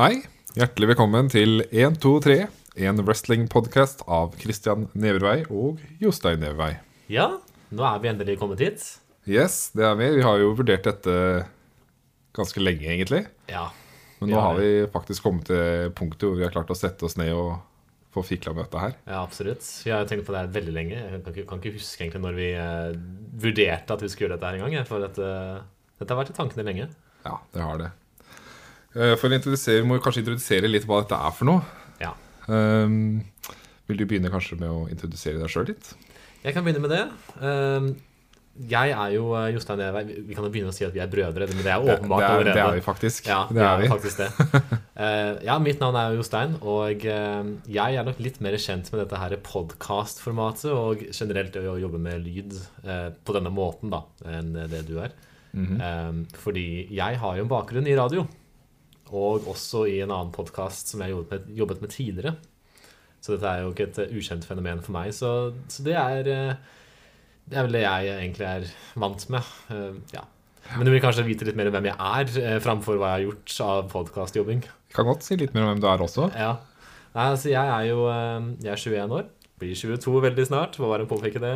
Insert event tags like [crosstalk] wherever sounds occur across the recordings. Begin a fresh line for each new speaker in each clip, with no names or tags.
Hei, hjertelig velkommen til 123, en wrestlingpodkast av Christian Nevervei og Jostein Nevervei.
Ja, nå er vi endelig kommet hit.
Yes, det er vi. Vi har jo vurdert dette ganske lenge, egentlig.
Ja.
Men nå har vi faktisk kommet til punktet hvor vi har klart å sette oss ned og få fikla med dette her.
Ja, absolutt. Vi har jo tenkt på det her veldig lenge. Jeg kan ikke, kan ikke huske egentlig når vi eh, vurderte at vi skulle gjøre dette her engang. jeg, For dette, dette har vært i tankene lenge.
Ja, det har det. Eh, For å introdusere, Vi må jo kanskje introdusere litt hva dette er for noe.
Ja.
Ehm, vil du begynne kanskje med å introdusere deg sjøl litt?
Jeg kan begynne med det. Ehm, jeg er jo eh, Jostein Evei. Vi vi kan jo begynne å si at vi er brødre, men det er jo
Det, det,
åpenbart
er, det
allerede.
er vi faktisk.
Ja,
det er vi.
faktisk
[laughs]
det. Eh, ja, mitt navn er Jostein, og eh, jeg er nok litt mer kjent med dette her podkastformatet og generelt det å jobbe med lyd eh, på denne måten, da, enn det du er.
Mhm.
Eh, fordi jeg har jo en bakgrunn i radio, og også i en annen podkast som jeg jobbet med, jobbet med tidligere. Så dette er jo ikke et eh, ukjent fenomen for meg, så, så det er eh, det er vel det jeg egentlig er vant med. eh, ja. Men du vil kanskje vite litt mer om hvem jeg er, eh, framfor hva jeg har gjort av podkastjobbing.
Vi kan godt si litt mer om hvem du er også.
Ja. Nei, altså, jeg er jo eh, jeg er 21 år. Blir 22 veldig snart, må bare påpeke det.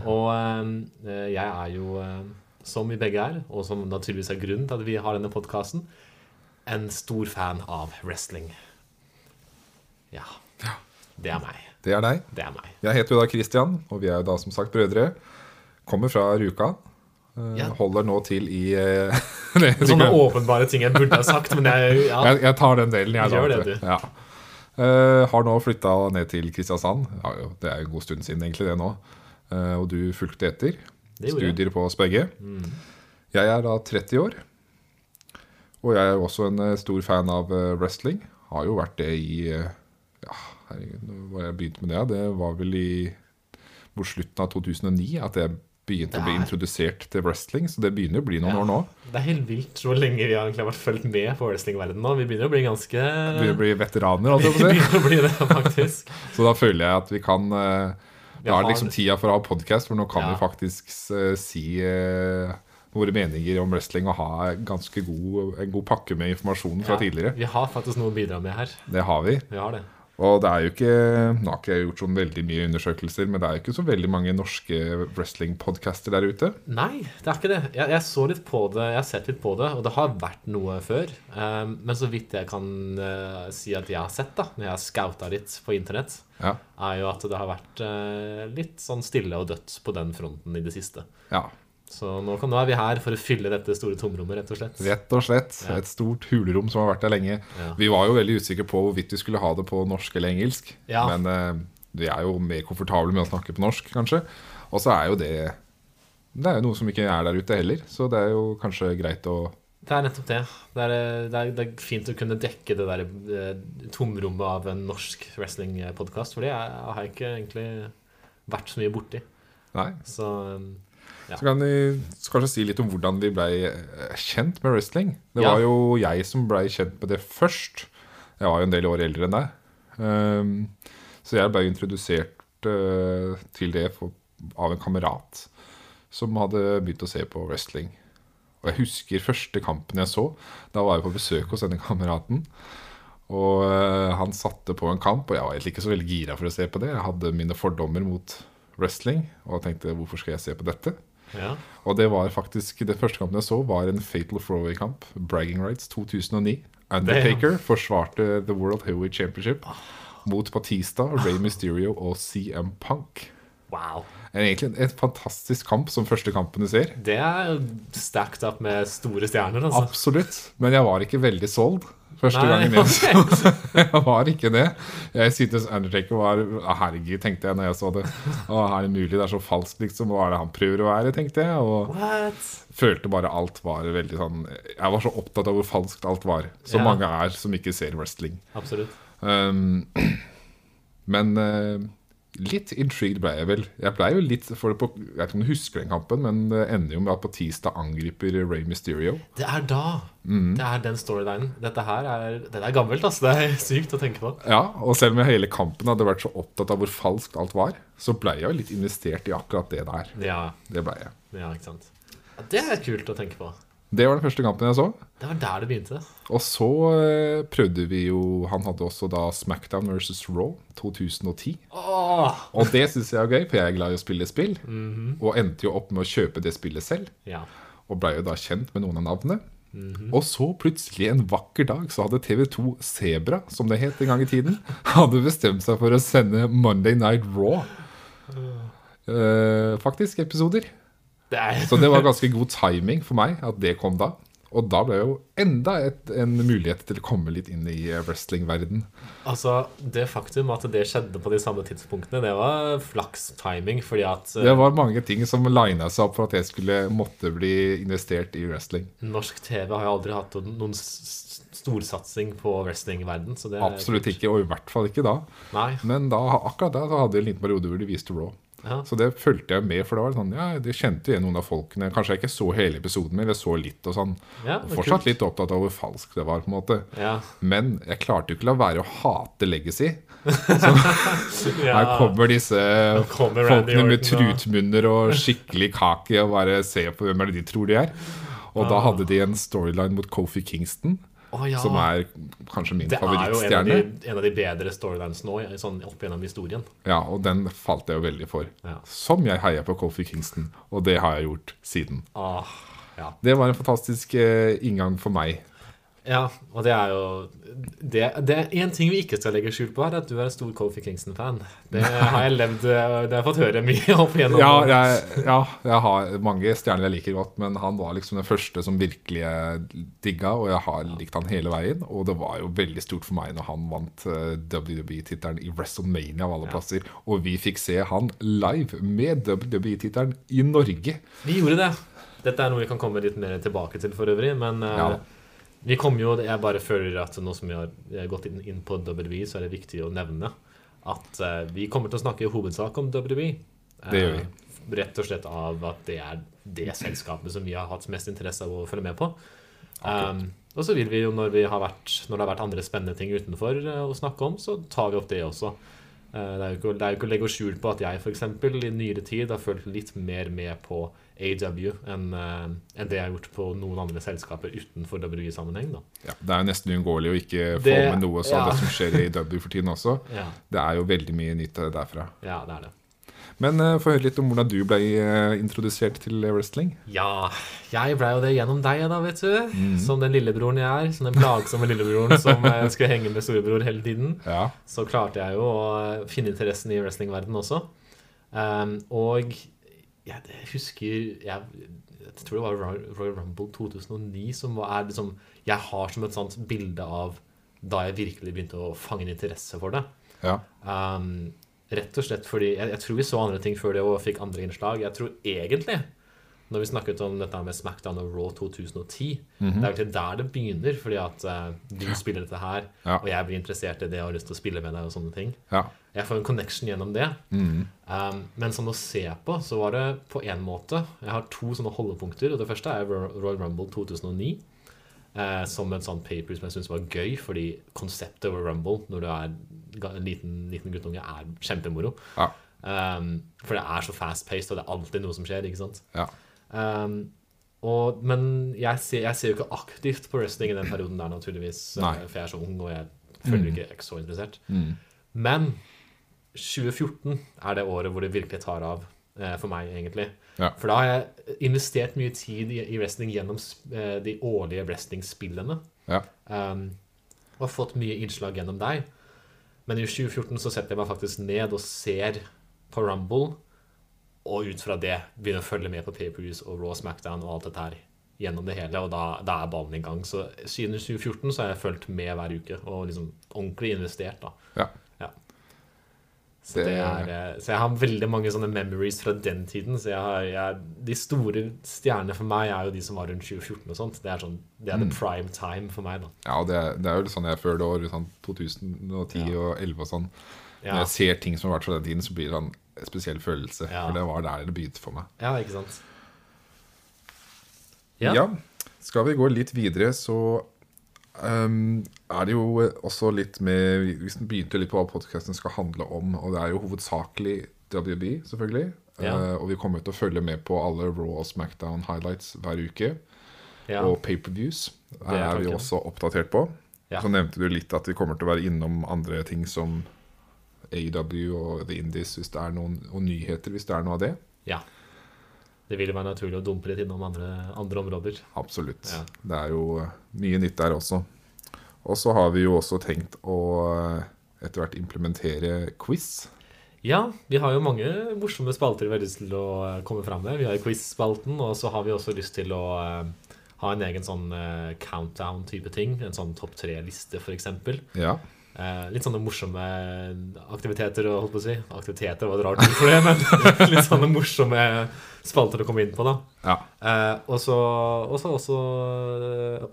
Og eh, jeg er jo, eh, som vi begge er, og som naturligvis er grunnen til at vi har denne podkasten, en stor fan av wrestling. Ja. Det er meg.
Det er deg.
Det er meg.
Jeg heter jo da Christian, og vi er jo da som sagt brødre. Kommer fra Rjukan. eh,
Ja. Sånn
Holder nå til i eh, [laughs] nei, jeg,
Sånne
tenker-
åpenbare ting jeg burde ha sagt, men jeg ja.
jeg, jeg tar den delen, jeg. da,
Gjør det,
vet Ja. Eh, har nå flytta ned til Kristiansand. Ja, jo, det er jo en god stund siden, egentlig, det nå. Eh, og du fulgte etter.
Det gjorde jeg. Mm.
Studier på oss begge. Jeg er da 30 år. Og jeg er jo også en eh, stor fan av eh, wrestling. Har jo vært det i eh, Ja, herregud, når var jeg begynte med det? ja? Det var vel i mot slutten av 2009 at jeg begynte å bli
Der.
introdusert til wrestling. Så det begynner jo å bli noen
Ja.
år nå.
Det er helt vilt hvor lenge vi har egentlig vært fulgt med på wrestlingverdenen nå. Vi begynner å bli ganske
Begynner å bli veteraner, holdt
[laughs]
jeg
Vi [laughs]
på å si.
begynner å bli
[laughs]
det, faktisk.
Så da føler jeg at vi kan eh,
Vi
Da er
har-
det liksom tida for å ha podkast, for nå kan
Ja.
vi faktisk eh, si eh, våre meninger om wrestling og ha ganske god, en god pakke med informasjon fra
Ja,
tidligere.
Vi har faktisk noe å bidra med her.
Det har vi.
Vi har det.
Og det er jo ikke Nå har ikke jeg gjort sånn veldig mye undersøkelser, men det er jo ikke så veldig mange norske wrestlingpodcaster der ute.
Nei, det er ikke det. Jeg, jeg så litt på det, jeg har sett litt på det, og det har vært noe før. Eh, men så vidt jeg kan eh, si at jeg har sett, da, når jeg har scouta litt på internett,
Ja.
er jo at det har vært eh, litt sånn stille og dødt på den fronten i det siste.
ja.
Så nå, kan, nå er vi her for å fylle dette store tomrommet, rett og slett.
Rett og slett. Et stort hulrom som har vært der lenge.
Ja.
Vi var jo veldig usikre på hvorvidt vi skulle ha det på norsk eller engelsk.
Ja.
Men eh, vi er jo mer komfortable med å snakke på norsk, kanskje. Og så er jo det Det er jo noe som ikke er der ute heller, så det er jo kanskje greit å
Det er nettopp det. Det er, eh, det er, det er fint å kunne dekke det der eh, tomrommet av en norsk wrestlingpodkast, for det er- har jeg ikke egentlig vært så mye borti.
Nei.
Så eh, Ja.
Så kan vi kanskje si litt om hvordan vi blei eh, kjent med wrestling. Det
Ja.
var jo jeg som blei kjent med det først. Jeg var jo en del år eldre enn deg. Ehm, så jeg blei introdusert eh, til det for, av en kamerat som hadde begynt å se på wrestling. Og jeg husker første kampen jeg så. Da var jeg på besøk hos denne kameraten. Og eh, han satte på en kamp, og jeg var egentlig ikke så veldig gira for å se på det. Jeg hadde mine fordommer mot wrestling og tenkte hvorfor skal jeg se på dette?
ja.
Og det var faktisk Den første kampen jeg så, var en Fatal Throwaway-kamp. Bragging Rights 2009. Undertaker forsvarte The World Heavyweight Championship mot Batista, Ray Mysterio og CM Punk.
Wow.
Det er egentlig en, en fantastisk kamp som første kampen du ser.
Det er stacked up med store stjerner, altså.
Absolutt. Men jeg var ikke veldig solgt første
Nei,
gangen jeg så
[laughs] ok.
Jeg var ikke det. Jeg syntes Undertaker var «Å, Herregud, tenkte jeg når jeg så det. Å, er det mulig? Det er så falskt, liksom. Hva er det han prøver å være, tenkte jeg. Og
What?
følte bare alt var veldig sånn Jeg var så opptatt av hvor falskt alt var. Som
Ja.
mange er som ikke ser wrestling.
Absolutt.
Um, men eh, litt intrigued ble jeg vel. Jeg ble jo litt for det på, Jeg vet ikke om du husker den kampen, men det ender jo med at Batista angriper Ray Mysterio.
Det er da. Det er den storylinen. Dette her er, dette er gammelt, altså. Det er sykt å tenke på.
Ja, Og selv om jeg hele kampen hadde vært så opptatt av hvor falskt alt var, så ble jeg jo litt investert i akkurat det der.
Ja,
Det ble jeg.
ja ikke sant. Ja, det er kult å tenke på.
Det var den første kampen jeg så.
Det var der det begynte.
Og så eh, prøvde vi jo Han hadde også da Smackdown versus Raw 2010.
Åh!
Og det syns jeg er gøy, for jeg er glad i å spille spill. Og endte jo opp med å kjøpe det spillet selv.
Ja.
Og blei jo da kjent med noen av navnene. Og så plutselig en vakker dag så hadde TV2 Sebra, som det het en gang i tiden, [laughs] hadde bestemt seg for å sende Monday Night Raw. Eh, faktisk episoder.
Det er
Så det var ganske god timing for meg at det kom da. Og da ble jo enda et, en mulighet til å komme litt inn i eh, wrestlingverden.
Altså, det faktum at det skjedde på de samme tidspunktene, det var flaks-timing, fordi at eh,
Det var mange ting som lina seg opp for at jeg skulle måtte bli investert i wrestling.
norsk TV har jo aldri hatt noen s- s- storsatsing på wrestlingverden, så det er-
Absolutt ikke, og i hvert fall ikke da.
Nei.
Men da, akkurat da så hadde jeg en liten periode hvor de viste Raw.
Ja.
Så det fulgte jeg med, for det var sånn, ja, jeg kjente igjen noen av folkene. Kanskje jeg ikke så hele episoden, men jeg så litt og sånn.
Ja,
Og
men kult.
fortsatt litt opptatt av hvor falsk det var, på en måte.
Ja.
Men jeg klarte jo ikke la være å hate Legacy. Her
ja.
kommer disse
kommer Randy
folkene med
Orton, da.
trutmunner og skikkelig kake og bare se på hvem er det de tror de er. Og da hadde de en storyline mot Kofi Kingston,
Å, ja.
som er kanskje min
det er jo en av,
favorittstjerne.
de, en av de bedre storylines nå, i- sånn opp gjennom historien.
Ja, og den falt jeg jo veldig for.
Ja.
Som jeg heier på Kofi Kingston, og det har jeg gjort siden.
Ah, ja.
Det var en fantastisk eh, inngang for meg.
ja, og det er jo Det, det er én ting vi ikke skal legge skjul på, er at du er en stor Kofi Kingston-fan.
[laughs]
Det har jeg levd eh, Det har jeg fått høre mye opp igjennom.
Ja, jeg, ja, jeg har mange stjerner jeg liker godt, men han var liksom den første som virkelig jeg digga, og jeg har likt han hele veien. Og det var jo veldig stort for meg når han vant eh, WWE-tittelen i WrestleMania av alle plasser. Og vi fikk se han live med WWE-tittelen i Norge.
Vi gjorde det. Dette er noe vi kan komme litt mer tilbake til for øvrig, men eh,
Ja.
vi kom jo Jeg bare føler at nå som vi har eh, gått inn, inn på WWE, så er det viktig å nevne at eh, vi kommer til å snakke i hovedsak om WWE. Eh,
Det gjør vi.
Rett og slett av at det er det selskapet som vi har hatt mest interesse av å følge med på. Um, og så vil vi jo, når, vi har vært, når det har vært andre spennende ting utenfor eh, å snakke om, så tar vi opp det også. Eh, Det er jo ikke, det er jo ikke å legge skjul på at jeg for eksempel, i nyere tid har følt litt mer med på AW enn eh, enn det jeg har gjort på noen andre selskaper utenfor WWE-sammenheng. da.
Ja, det er jo nesten uunngåelig å ikke få
Det-
med noe av
ja.
det som skjer i WWE for tiden også.
Ja.
Det er jo veldig mye nytt derfra.
ja, det er det.
Men uh, få høre litt om hvordan du ble eh, introdusert til wrestling.
Ja, jeg blei jo det gjennom deg, da, vet du. Som den lillebroren jeg er. Som den plagsomme lillebroren som eh, skulle henge med storebror hele tiden.
Ja,
så klarte jeg jo å eh, finne interessen i wrestlingverdenen også. Um, og jeg, jeg husker jeg, jeg tror det var Roy- Royal Rumble 2009 som var, er liksom, jeg har som et sånt bilde av da jeg virkelig begynte å fange en interesse for det.
ja.
Um, rett og slett fordi jeg, jeg tror vi så andre ting før det og fikk andre innslag. Jeg tror egentlig, når vi snakket om dette med Smackdown og Raw 2010, det er egentlig der det begynner, fordi at eh, du spiller dette her,
Ja.
og jeg blir interessert i det og har lyst til å spille med deg og sånne ting.
ja.
Jeg får en connection gjennom det.
Mm.
Um, men sånn å se på, så var det på én måte Jeg har to sånne holdepunkter. Og det første er Ro- Royal Rumble 2009. Eh, som en sånn paper som jeg syns var gøy, fordi konseptet over Rumble når du er ga- en liten, liten guttunge, er kjempemoro.
ja.
Um, for det er så fast-paced, og det er alltid noe som skjer. ikke sant?
ja.
Um, og, men jeg ser, jeg ser jo ikke aktivt på wrestling i den perioden der, naturligvis.
Nei. Mm.
eh, For jeg er så ung, og jeg føler ikke jeg er ikke så interessert. Men 2014 er det året hvor det virkelig tar av eh, for meg, egentlig.
Ja.
For da har jeg investert mye tid i, i wrestling gjennom sp- eh, de årlige wrestlingspillene.
ja.
Um, og har fått mye innslag gjennom deg. Men i 2014 så setter jeg meg faktisk ned og ser på Rumble, og ut fra det begynner å følge med på Pay-Per-Views og Raw Smackdown og alt dette her gjennom det hele, og da, da er ballen i gang. Så siden 2014 så har jeg fulgt med hver uke, og liksom ordentlig investert, da.
ja.
Ja. Så, det er, eh, så jeg har veldig mange sånne memories fra den tiden. Så jeg har, jeg, de store stjernene for meg er jo de som var rundt 2014 og sånt. Det er, sånn, det er the prime time for meg, da.
Ja, og det, er- det er jo litt sånn jeg føler det år, sånn 2010 og 11 og sånn.
Ja.
Når jeg ser ting som har vært fra den tiden, så blir det sånn en spesiell følelse.
Ja.
For det var der det begynte for meg.
Ja, ikke sant?
Ja. Skal vi gå litt videre, så ehm, er det jo også litt med Vi begynte litt på hva podkasten skal handle om, og det er jo hovedsakelig WB, selvfølgelig.
Ja.
Eh, og vi kommer til å følge med på alle Raw og Smackdown highlights hver uke.
Ja.
og pay-per-views.
Det
Her
er
er vi
tanken.
også oppdatert på.
Ja.
Så nevnte du litt at vi kommer til å være innom andre ting som AW og The Indies hvis det er noen, og nyheter hvis det er noe av det.
Ja. Det vil være naturlig å dumpe litt innom andre, andre områder.
Absolutt.
Ja.
Det er jo eh, mye nytt der også. Og så har vi jo også tenkt å eh, etter hvert implementere quiz.
Ja, vi har jo mange morsomme spalter vi har lyst til å eh, komme fram med. Vi har jo quiz-spalten, og så har vi også lyst til å eh, ha en egen sånn eh, countdown-type ting. En sånn topp tre-liste, f.eks.
Ja.
Eh, litt sånne morsomme eh, aktiviteter, og- holdt på å si. Aktiviteter var et rart ord for det, men [laughs] litt sånne morsomme spalter å komme inn på, da.
ja.
Eh, og så og så også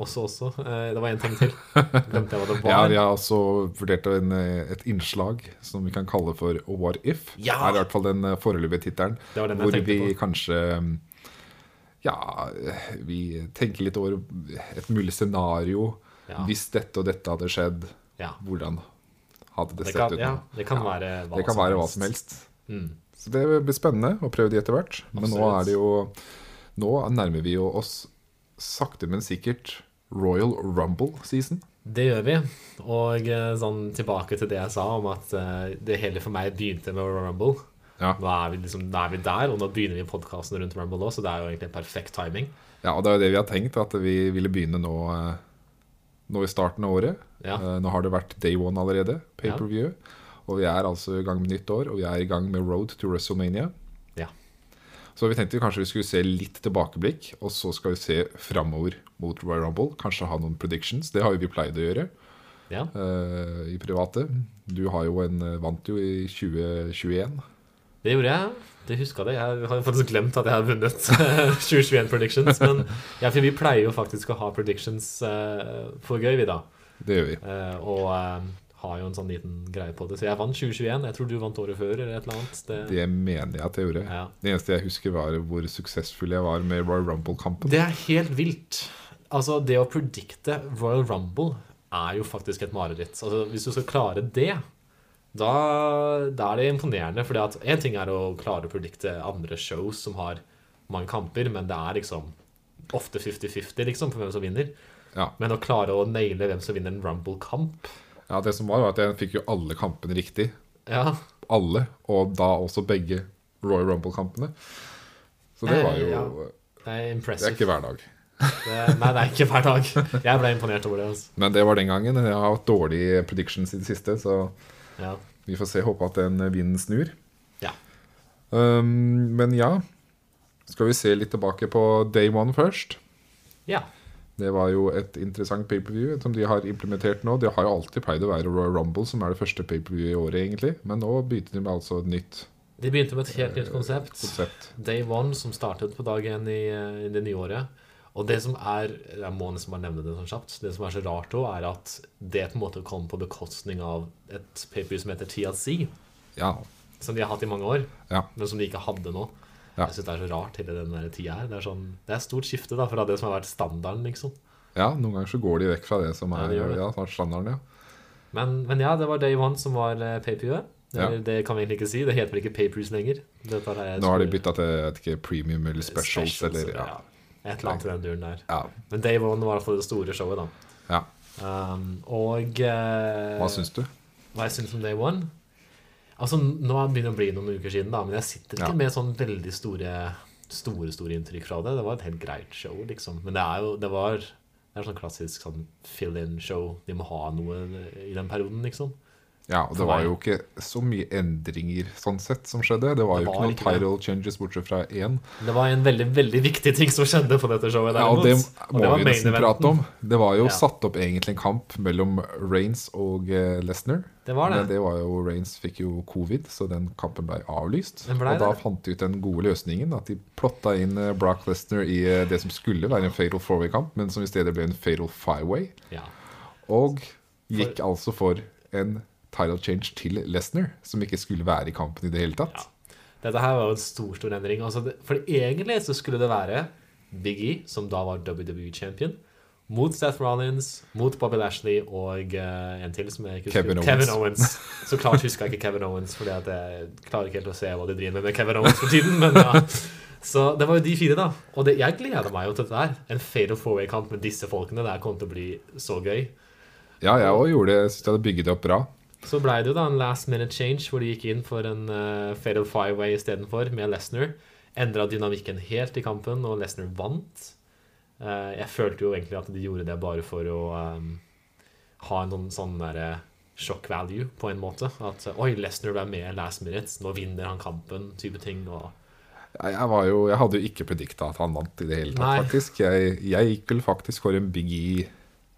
Også, også. eh, det var én ting til. Glemte jeg hva det var.
[laughs] Ja, vi har også vurdert en, eh, et innslag som vi kan kalle for What if.
Ja!
Det er i hvert fall den eh, foreløpige tittelen.
Det var den jeg
Hvor
tenkte
vi
på.
kanskje mm, Ja, eh, vi tenker litt over et mulig scenario.
Ja.
Hvis dette og dette hadde skjedd,
Ja.
hvordan hadde det,
Det
sett
kan,
ut?
ja,
nå?
det kan
Ja,
være hva
det kan
som
være hva
helst.
som helst.
Mm.
Så det blir spennende å prøve de etter hvert. Men nå
Absolutt.
er det jo Nå nærmer vi jo oss sakte, men sikkert Royal Rumble-season.
Det gjør vi. Og eh, sånn tilbake til det jeg sa om at eh, det hele for meg begynte med Royal Rumble.
Ja.
Nå er vi, liksom, nå er vi der, og nå begynner vi podkasten rundt Rumble òg, så det er jo egentlig perfekt timing.
Ja, og det er jo det vi har tenkt, at vi ville begynne nå, eh, nå i starten av året.
Ja.
Eh, Nå har det vært day one allerede, pay-per-view. Og vi er altså i gang med nytt år, og vi er i gang med Road to WrestleMania.
Ja.
Så vi tenkte kanskje vi skulle se litt tilbakeblikk, og så skal vi se framover mot Royal Rumble. Kanskje ha noen predictions. Det har jo vi pleid å gjøre
ja.
eh, i private. Du har jo en, eh, vant jo i 2021.
Det gjorde jeg. Det huska det. Jeg har faktisk glemt at jeg har vunnet [laughs] 2021 Predictions. Men ja, for vi pleier jo faktisk å ha predictions eh, for gøy, vi, da.
Det gjør vi.
Eh, og eh, har jo en sånn liten greie på det. Så jeg vant 2021. Jeg tror du vant året før, eller et eller annet. Det,
Det mener jeg at jeg gjorde.
Ja.
Det eneste jeg husker, var hvor suksessfull jeg var med Royal Rumble-kampen.
Det er helt vilt. Altså, det å predikte Royal Rumble er jo faktisk et mareritt. Altså, hvis du skal klare det, da, da er det imponerende. Fordi at én ting er å klare å predikte andre shows som har mange kamper, men det er liksom ofte 50-50 liksom, for hvem som vinner.
Ja.
Men å klare å naile hvem som vinner en Rumble-kamp
Ja, det som var, var at jeg fikk jo alle kampene riktig.
ja.
Alle, og da også begge Royal Rumble-kampene. Så det
Eh,
var jo
ja. Det er
Det er
impressive.
ikke hver dag.
Det- nei, det er ikke hver dag. Jeg ble imponert over det. Altså.
Men det var den gangen. Jeg har hatt dårlige predictions i det siste, så
Ja.
vi får se. Håpe at den vinden snur.
ja.
Um, men ja Skal vi se litt tilbake på day one først?
ja.
Det var jo et interessant pay-per-view som de har implementert nå. Det har jo alltid pleid å være Royal Rumble som er det første pay-per-view i året, egentlig. Men nå begynte de med altså et nytt
De begynte med et helt nytt konsept.
konsept.
Day One, som startet på dag én i, eh, i det nye året. Og det som er Jeg må nesten bare nevne det sånn kjapt. Det som er så rart òg, er at det på en måte kom på bekostning av et paper som heter TLC,
Ja.
som de har hatt i mange år,
ja.
men som de ikke hadde nå.
Ja.
Jeg syns det er så rart, hele den der tida her. Det er, sånn, det er stort skifte da, fra det som har vært standarden, liksom.
Ja, noen ganger så går de vekk fra det som
Ja,
er
de gjør det.
ja, sånn standarden, ja.
Men, men ja, det var Day One som var eh, paperviewet.
Ja.
Eller, Det kan vi egentlig ikke si. Det heter vel ikke papers lenger. Dette er
Nå har de bytta til jeg vet ikke, premium eller specials, eller ja.
Et eller annet i den duren der.
Ja,
Men Day One var i hvert fall det store showet, da.
ja.
Um, og eh,
Hva syns du?
hva jeg syns om Day One? Altså, nå begynner det å bli noen uker siden, da, men jeg sitter ikke
Ja.
med sånn veldig store Store, store inntrykk fra det. Det var et helt greit show, liksom. Men det er jo Det var det er sånn klassisk sånn fill-in-show. De må ha noe i den perioden, liksom.
Ja, og
For
Det var
meg-
jo ikke så mye endringer sånn sett som skjedde. Det var
Det
jo
var
ikke noen
ikke det.
title changes bortsett fra én.
Det var en veldig veldig viktig ting som skjedde på dette showet.
Ja, og det
derimot. Og
må
det var
vi
main
nesten
eventen.
prate om. Det var jo
Ja.
satt opp egentlig en kamp mellom Reigns og Lesner.
Det var det.
Men det var jo, Reigns fikk jo covid, så den kampen ble avlyst.
Den ble
og da
det.
fant de ut den gode løsningen, at de plotta inn eh, Brock Lesnar i eh, det som skulle være en fatal four-way-kamp, men som i stedet ble en fatal five-way.
Ja.
Og gikk altså for en title change til Lesnar, som ikke skulle være i kampen i det hele tatt.
Dette her var jo en stor, stor endring. Altså, det, for egentlig så skulle det være Big E, som da var WWE-champion, mot Seth Rollins, mot Bobby Lashley og eh, en til som jeg ikke husker.
Kevin Owens.
Kevin Owens. Så klart husker jeg ikke Kevin Owens, fordi at jeg klarer ikke helt å se hva de driver med med Kevin Owens for tiden, men ja. Så det var jo de fire, da. Og det, jeg gleder meg jo til dette her. En fatal four-way-kamp med disse folkene. Det her kommer til å bli så gøy.
Ja, jeg òg gjorde det. Jeg syns de hadde bygget det opp bra.
Så blei det jo da en last minute change hvor de gikk inn for en uh, fatal five-way istedenfor, med Lesnar. Endra dynamikken helt i kampen, og Lesnar vant. Eh, jeg følte jo egentlig at de gjorde det bare for å eh, ha en sånn, sånn derre shock value, på en måte. At eh, oi, Lesnar ble med last minute, nå vinner han kampen, type ting. og...
Jeg, jeg, var jo, jeg hadde jo ikke predikta at han vant i det hele tatt,
Nei.
faktisk. Jeg, jeg gikk vel faktisk for en big E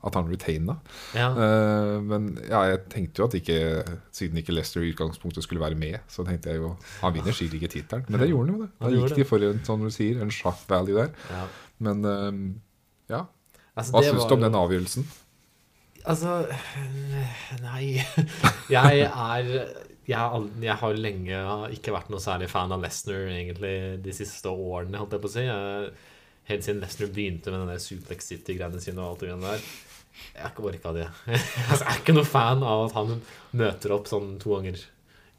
at han retaina.
Ja,
Eh, men ja, jeg tenkte jo at ikke siden ikke Lester i utgangspunktet skulle være med, så tenkte jeg jo han vinner sikkert ikke tittelen. Men det gjorde han jo, det.
Han
Da
gjorde
gikk de for en sånn du sier, en sharp value der.
ja.
Men eh, ja.
Altså,
Hva
det
syns
var
du om
jo-
den avgjørelsen?
Altså Nei. Jeg er jeg, har ald- jeg har lenge ikke vært noe særlig fan av Lesnar egentlig de siste årene, holdt jeg på å si. Jeg, helt siden Lesnar begynte med den der Suplex City-greiene sine og alt det greiene der. Jeg har ikke orka det. [laughs] Altså, jeg er ikke noe fan av at han møter opp sånn to ganger i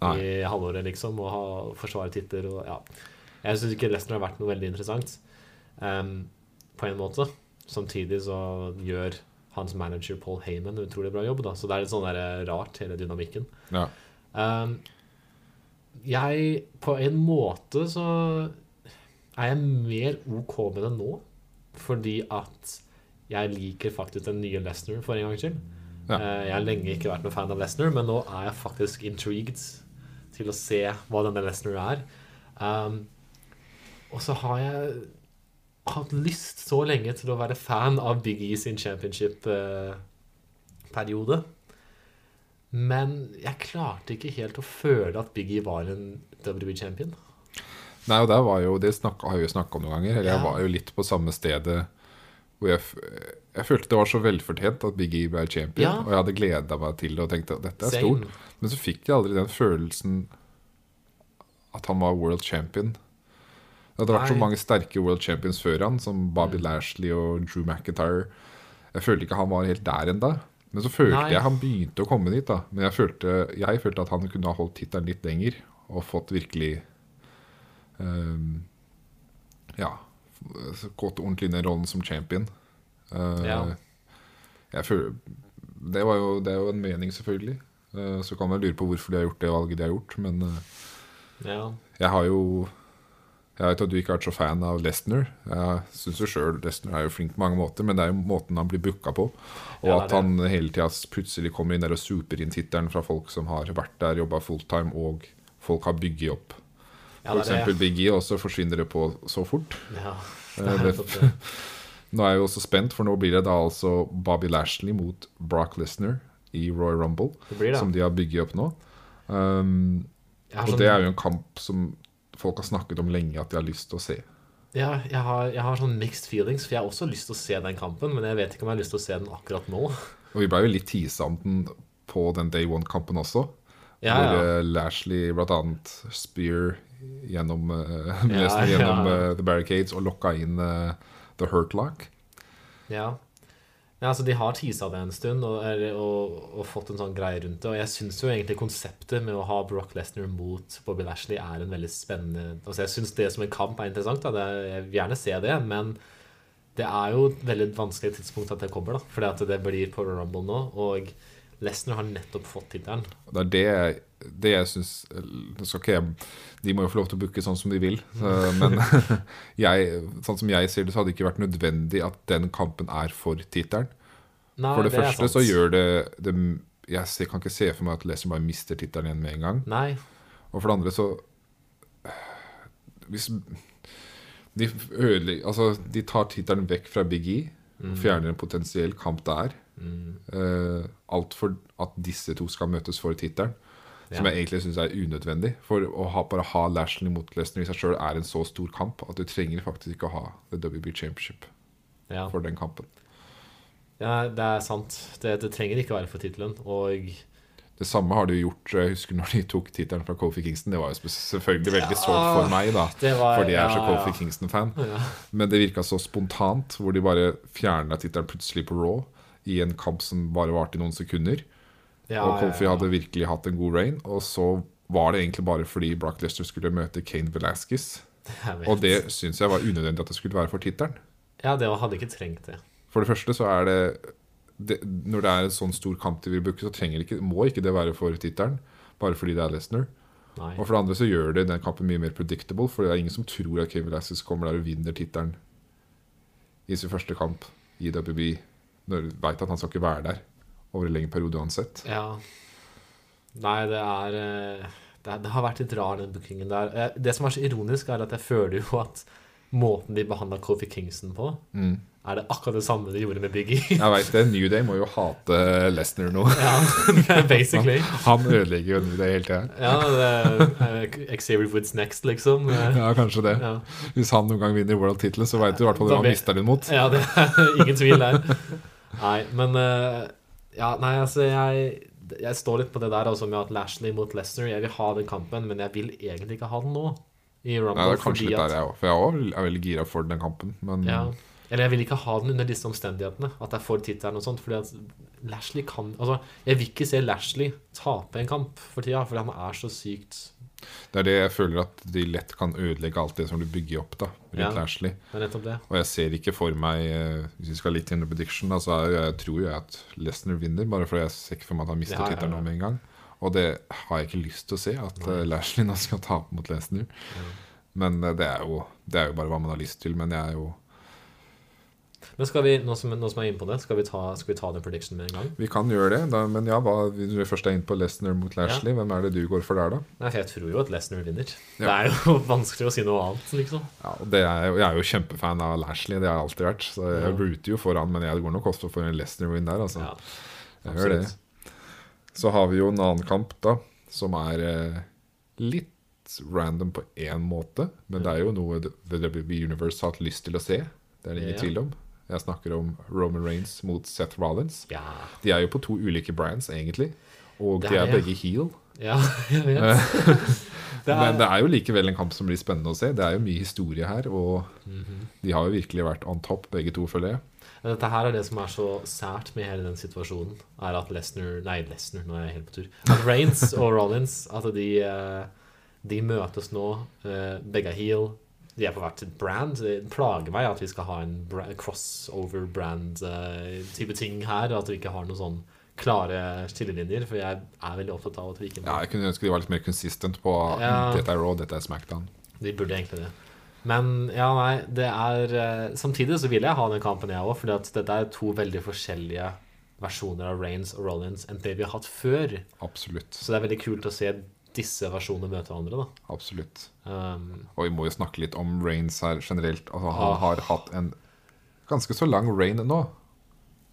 Nei.
halvåret, liksom, og har- forsvarer titler og ja. Jeg syns ikke Lesnar har vært noe veldig interessant, ehm, på en måte. Samtidig så gjør hans manager Paul Heyman en utrolig bra jobb, da. Så det er litt sånn der rart, hele dynamikken.
Ja.
Um, jeg På en måte så er jeg mer OK med det nå, fordi at jeg liker faktisk den nye Lesnar for en gangs skyld.
Ja.
Eh, Jeg har lenge ikke vært noen fan av Lesnar, men nå er jeg faktisk intrigued til å se hva denne Lesnar er. Um, og så har jeg hatt lyst så lenge til å være fan av Big E sin eh, championship-periode. Men jeg klarte ikke helt å føle at Big E var en WWE-champion.
Nei, og der var jo, det snakk, har jeg jo snakka om noen ganger. Eller
Ja.
jeg var jo litt på samme stedet hvor jeg, f- jeg følte det var så velfortjent at Big E ble champion.
Ja.
Og jeg hadde gleda meg til det og tenkte at dette er
Same.
stort. Men så fikk jeg aldri den følelsen at han var world champion. Det hadde vært så
Nei. Mm.
mange sterke world champions før han, som Bobby Lashley og Drew McIntyre. Jeg følte ikke han var helt der enda Men så følte
Nei.
jeg han begynte å komme dit. da Men jeg følte, jeg følte at han kunne ha holdt tittelen litt lenger og fått virkelig ehm, Ja f- gått ordentlig inn i rollen som champion. Eh,
Ja.
jeg føler, det, var jo, det er jo en mening, selvfølgelig. Eh, så kan man lure på hvorfor de har gjort det valget de har gjort, men eh,
Ja.
jeg har jo Jeg vet at du ikke har vært så fan av Lesnar. Jeg syns jo sjøl Lesnar er jo flink på mange måter, men det er jo måten han blir booka på. Og
Ja, det er
at han hele tida plutselig kommer inn der og super inn tittelen fra folk som har vært der, jobba fulltime, og folk har bygget opp.
Ja,
For
det er
eksempel
det.
Big E, og så forsvinner det på så fort.
Ja.
Eh,
Det er [laughs]
det-
nettopp det.
Nå er jeg jo også spent, for nå blir det da altså Bobby Lashley mot Brock Lesnar i Roy Rumble,
Det blir det.
som de har bygget opp nå. Um,
Jeg har
og
sånn-
det er jo en kamp som folk har snakket om lenge at de har lyst til å se.
Ja, jeg har, jeg har sånn mixed feelings, for jeg har også lyst til å se den kampen, men jeg vet ikke om jeg har lyst til å se den akkurat nå.
Og vi ble jo litt tisa om den på den Day One-kampen også.
Ja,
hvor
ja.
eh, Lashley blant annet spear gjennom, eh, [laughs]
Ja,
nesten gjennom
ja.
eh, The Barricades og lokka inn eh, The Hurt Lock.
Ja. ja altså, de har teasa det en stund og, eller- og, og fått en sånn greie rundt det. Og jeg syns jo egentlig konseptet med å ha Brock Lesnar mot Bobby Lashley er en veldig spennende Altså, jeg syns det som en kamp er interessant, da. Det, jeg vil gjerne se det, men det er jo et veldig vanskelig tidspunkt at det kommer, da. Fordi at det blir på Royal Rumble nå, og Lesnar har nettopp fått tittelen.
Det er det, jeg- det jeg syns Nå skal ikke jeg De må jo få lov til å booke sånn som de vil. eh,
[laughs]
Men jeg, sånn som jeg ser det, så hadde det ikke vært nødvendig at den kampen er for tittelen.
Nei,
For det,
er
første
sant.
så gjør det, det Jeg ser- kan ikke se for meg at Lesnar bare mister tittelen igjen med en gang.
Nei.
Og for det andre så Hvis de, ødelegger, altså, de tar tittelen vekk fra Big E
Mm.
og fjerner en potensiell kamp der. eh, alt for at disse to skal møtes for tittelen. Som
Ja.
jeg egentlig syns er unødvendig. For å ha, bare ha Lashley mot Lesnar i seg sjøl er en så stor kamp at du trenger faktisk ikke å ha The WB Championship
Ja.
for den kampen.
Ja, det er sant. Det, det trenger ikke være for tittelen. Og
Det samme har de jo gjort eh, Jeg husker når de tok tittelen fra Kofi Kingston. Det var jo spe- selvfølgelig veldig sårt
Ja,
for meg, da.
det var-
fordi jeg er så
ja,
Kofi
ja.
Kingston-fan.
[laughs] Ja.
Men det virka så spontant, hvor de bare fjerna tittelen plutselig på Raw i en kamp som bare varte i noen sekunder.
ja,
og Kofi
ja, ja.
hadde virkelig hatt en god reign. Og så var det egentlig bare fordi Brock Lester skulle møte Kane Velasquez.
Jeg vet.
Og det syns jeg var unødvendig at det skulle være for tittelen.
Ja, det hadde ikke trengt det.
For det første så er det, det Når det er en sånn stor kamp de vil booke, så trenger ikke, må ikke det være for tittelen. Bare fordi det er Lesnar.
Nei.
Og for det andre så gjør det den kampen mye mer predictable, for det er ingen som tror at Kevin Lassis kommer der og vinner tittelen i sin første kamp i WB. Når du veit at han skal ikke være der over en lengre periode uansett.
Ja. Nei, det er eh, Det, er, det har vært litt rar, den bookingen der. Eh, Det som er så ironisk, er at jeg føler jo at måten de behandla Kofi Kingston på,
Mm.
er det akkurat det samme de gjorde med Biggie.
Jeg veit det. New Day må jo hate Lesnar nå.
[laughs] ja, basically.
Han ødelegger jo New Day hele tida.
Ja, det er eh, Xavier Woods next, liksom. Eh,
Ja, kanskje det.
Ja,
Hvis han noen gang vinner world-tittelen, så veit du i hvert fall
Da
hvem han
vet-
mister den mot.
ja det er [laughs] ingen tvil der. Nei, men eh, Ja, nei, altså, jeg jeg står litt på det der altså med at Lashley mot Lesnar Jeg vil ha den kampen, men jeg vil egentlig ikke ha den nå. I Rumble,
Nei, det er kanskje
fordi
litt
at-
der jeg òg, for jeg også er veldig gira for den kampen. Men
Ja. Eller jeg vil ikke ha den under disse omstendighetene, at jeg får tittelen og sånt. Fordi at Lashley kan Altså, jeg vil ikke se Lashley tape en kamp for tida, fordi han er så sykt
det er det jeg føler at de lett kan ødelegge alt det som du bygger opp da, rundt
Ja.
Lashley.
Det er nettopp det.
Og jeg ser ikke for meg eh, Hvis vi skal litt inn i prediction, da, så er, jeg tror jo jeg at Lesnar vinner, bare fordi jeg ser ikke for meg at han mister
Ja, ja, ja.
tittelen nå med en gang. Og det har jeg ikke lyst til å se, at eh, Lashley nå skal tape mot Lesnar. Men eh, det er, jo, det er jo bare hva man har lyst til. Men jeg er jo
Men skal vi, nå som, nå som jeg er inne på det, skal vi ta, skal vi ta den predictionen med en gang?
Vi kan gjøre det, da, men ja, hva, hvis vi først er inne på Lesnar mot Lashley, hvem er det du går for der, da?
Nei, for jeg tror jo at Lesnar vinner. Det
Ja.
er jo [laughs] vanskelig å si noe annet, liksom.
Ja, og det er, jo- jeg er jo kjempefan av Lashley, det har jeg alltid vært. Så jeg
Ja.
rooter jo for han, men jeg går nok også for en Lesnar-win der, altså.
Ja,
jeg gjør det.
absolutt.
Så har vi jo en annen kamp, da, som er eh, litt random på én måte. Men det er jo noe The WB Universe har hatt lyst til å se. Det er det ingen
Ja.
tvil om. Jeg snakker om Roman Reigns mot Seth Rollins.
Ja,
De er jo på to ulike brands, egentlig. Og
Det
de
er
er
det.
begge heel.
ja [laughs] jeg vet.
[laughs]
Det
Men
er,
det er jo likevel en kamp som blir spennende å se. Det er jo mye historie her, og
Mhm.
de har jo virkelig vært on top, begge to, føler jeg.
Men Dette her er det som er så sært med hele den situasjonen, er at Lesnar Nei, Lesnar, nå er jeg helt på tur. At Reigns og Rollins, at de, eh, de møtes nå. eh, Begge er heel. De er på hvert sitt brand. Det plager meg at vi skal ha en bra- crossover-brand-type ting her. At vi ikke har noen sånn klare skillelinjer, for jeg er veldig opptatt av at vi ikke
Ja, jeg kunne ønske de var litt mer consistent på
Ja.
dette er Raw, dette er Smackdown.
De burde egentlig det. Men ja, nei, det er eh, Samtidig så vil jeg ha den kampen, jeg òg, fordi at dette er to veldig forskjellige versjoner av Reigns og Rollins enn det vi har hatt før.
Absolutt.
Så det er veldig kult å se disse versjonene møte hverandre, da.
Absolutt.
Um,
Og vi må jo snakke litt om Reigns her generelt. Altså, han
Ah.
har hatt en ganske så lang rain nå.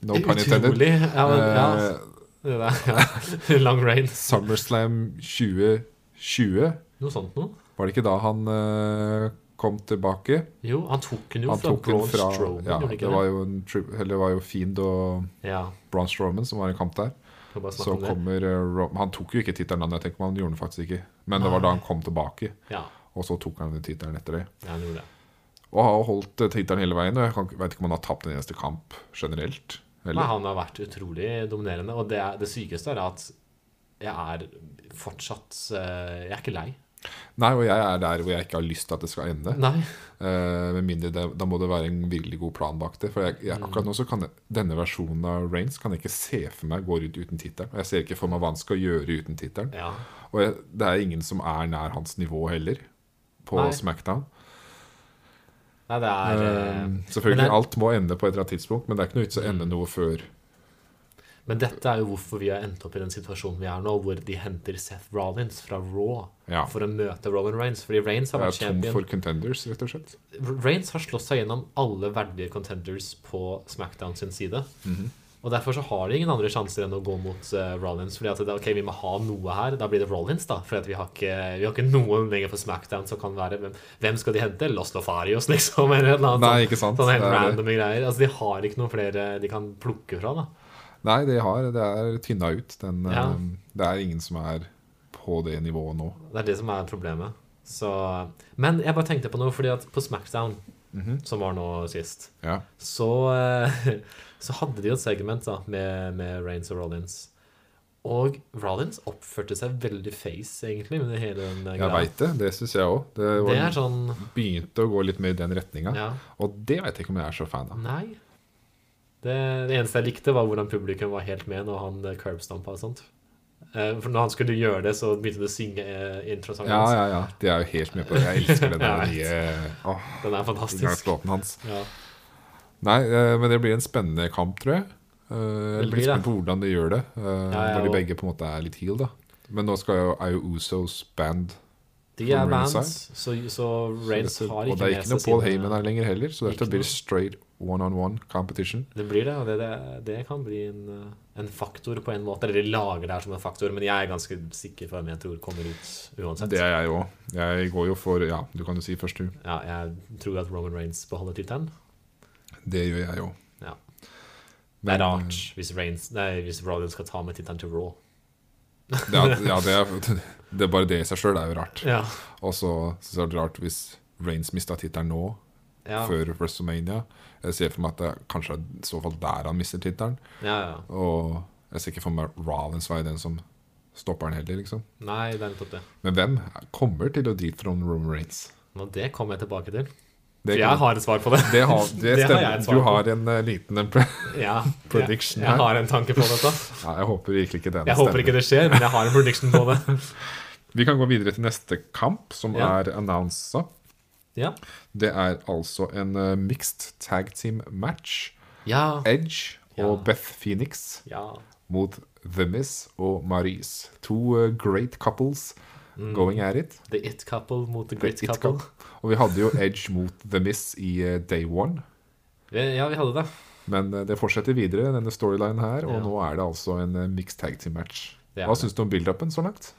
No pun intended.
utrolig. Ja, men, ja,
Eh,
det der, ja. [laughs] Long Reigns.
SummerSlam 2020,
Noe sånt noe.
var det ikke da han eh, kom tilbake?
Jo, han tok den jo
Han
fra
tok den
Braun
fra
Strowman,
ja,
gjorde han
det,
ikke
var
det?
jo en, tri- eller det var jo Fiend og
Ja,
Braun Strowman som var i kamp der.
kan bare snakke
Så
om det.
kommer eh, Ro- Han tok jo ikke tittelen, han, jeg tenker meg om, han gjorde den faktisk ikke. Men det var da han kom tilbake,
Ja,
og så tok han den tittelen etter det.
ja, han gjorde det.
Og har holdt eh, tittelen hele veien. Og jeg kan, vet ikke om han har tapt en eneste kamp generelt.
Nei,
Eller?
han har vært utrolig dominerende. Og det, er, det sykeste er at jeg er fortsatt eh, Jeg er ikke lei.
Nei, og jeg er der hvor jeg ikke har lyst til at det skal ende.
Nei.
Eh, med mindre det, Da må det være en virkelig god plan bak det. For jeg, jeg,
Mm.
akkurat nå så kan jeg, denne versjonen av Reigns kan jeg ikke se for meg går ut uten tittelen. Og jeg ser ikke for meg hva han skal gjøre uten tittelen.
Ja.
Og jeg, det er ingen som er nær hans nivå heller, på
Nei.
Smackdown.
Nei, det er eh,
Eh, selvfølgelig,
men det- Mm.
alt må ende på et eller annet tidspunkt, men det er ikke noe vits å ende noe før
eh, Men dette er jo hvorfor vi har endt opp i den situasjonen vi er nå, hvor de henter Seth Rollins fra Raw
Ja.
for å møte Roman Reigns. Fordi Reigns har
jeg
vært
er tom
champion.
for contenders, rett og slett.
Reigns har slått seg gjennom alle verdige contenders på Smackdown sin side.
Mhm.
Og Derfor så har de ingen andre sjanser enn å gå mot eh, Rollins. Fordi at det, er, ok, vi må ha noe her. Da blir det Rollins, da. Fordi at vi har ikke, vi har ikke noen lenger på Smackdown som kan være Hvem, hvem skal de hente? Los Lofarios, [laughs] liksom? Eller noe annet.
Nei,
sånt.
ikke sant?
Sånne helt
Det er det.
randome greier. Altså, De har ikke noen flere de kan plukke fra, da.
Nei, det, har, det er tynna ut. Den, eh,
Ja.
Det er ingen som er på det nivået nå.
Det er det som er problemet. Så, men jeg bare tenkte på noe, fordi at på Smackdown,
Mhm.
som var nå sist,
Ja.
[laughs] så, eh, så hadde de jo et segment da, med, med Reigns og Rollins. Og Rollins oppførte seg veldig face, egentlig, med hele den eh,
Jeg veit det. Det syns jeg òg. Det, var-
Det er sånn
begynte å gå litt mer i den retninga.
Ja. Mm.
Og det veit jeg ikke om jeg er så fan av.
Nei. Det, det eneste jeg likte, var hvordan publikum var helt med når han eh, curbstampa og sånt. Eh, For når han skulle gjøre det, så begynte de å synge eh, introsangen
Ja,
hans.
ja, ja. De er jo helt med på det. Jeg elsker
[laughs]
den der
Jeg
nye
[laughs]
åh,
Den er fantastisk.
inngangslåten hans.
Ja.
Nei, eh, men det blir en spennende kamp, tror jeg. Eh, Jeg
Det
er litt
blir det.
spent på hvordan de gjør det. eh,
ja,
når de
og-
begge på en måte er litt heel, da. Men nå skal jo, er jo Usos band.
De
From
er bands,
ringside.
så, så
så
Reigns
dette-
har
og
ikke
det er
med
ikke
seg
noe Paul
sine-
Heyman her lenger heller, så
Ikke
dette blir
noe.
straight one-on-one competition.
Det blir det, og det, det, det kan bli en, eh, en faktor på en måte. Eller de lager det her som en faktor, men jeg er ganske sikker på hvem jeg tror kommer ut uansett.
Det er jeg òg. Jeg går jo for Ja, du kan jo si først, du.
Ja, jeg tror at Roman Reigns beholder tittelen.
Det gjør jeg òg.
Ja. Det er rart hvis, Reigns, nei, hvis Rollins skal ta med tittelen til Raw.
[laughs] Ja, ja det, er, [laughs] det er bare det i seg sjøl er jo rart.
Ja,
Og så synes jeg det er rart hvis Reigns mista tittelen nå,
ja, ja.
før WrestleMania. Jeg ser for meg at det kanskje er i så fall der han mister tittelen.
ja.
Og jeg ser ikke for meg Rollins være den som stopper han heller, liksom.
Nei, det er nettopp det.
Men hvem kommer til å dethrone Roman Reigns?
Nå, det kommer jeg tilbake til.
Det,
For
kan-
jeg har et svar på
[laughs]
det.
det, har, det,
[laughs] det har
stemmer.
jeg et svar
du
på.
har en eh, liten en [laughs] pre-
Ja, jeg,
prediction
jeg
her.
har en tanke på dette.
Ja, jeg håper virkelig ikke den
Jeg håper ikke det skjer, men jeg har en
[laughs]
prediction på det.
Vi kan gå videre til neste kamp, som
Ja.
er annonsa.
Ja,
Det er altså en eh, mixed tag team match.
ja.
Edge og
Ja.
Beth Phoenix
ja.
mot The Miz og Maryse. To eh, great couples going at it.
The it couple mot
The
the Mm. great
It
couple.
Couple. Og vi hadde jo Edge mot The Miz i eh, Day One.
Ja, vi hadde det.
Men eh, det fortsetter videre, denne storylinen her. Og
Ja.
nå er det altså en eh, mixed tag team match.
Det er
Hva
det.
syns du om build-upen så langt?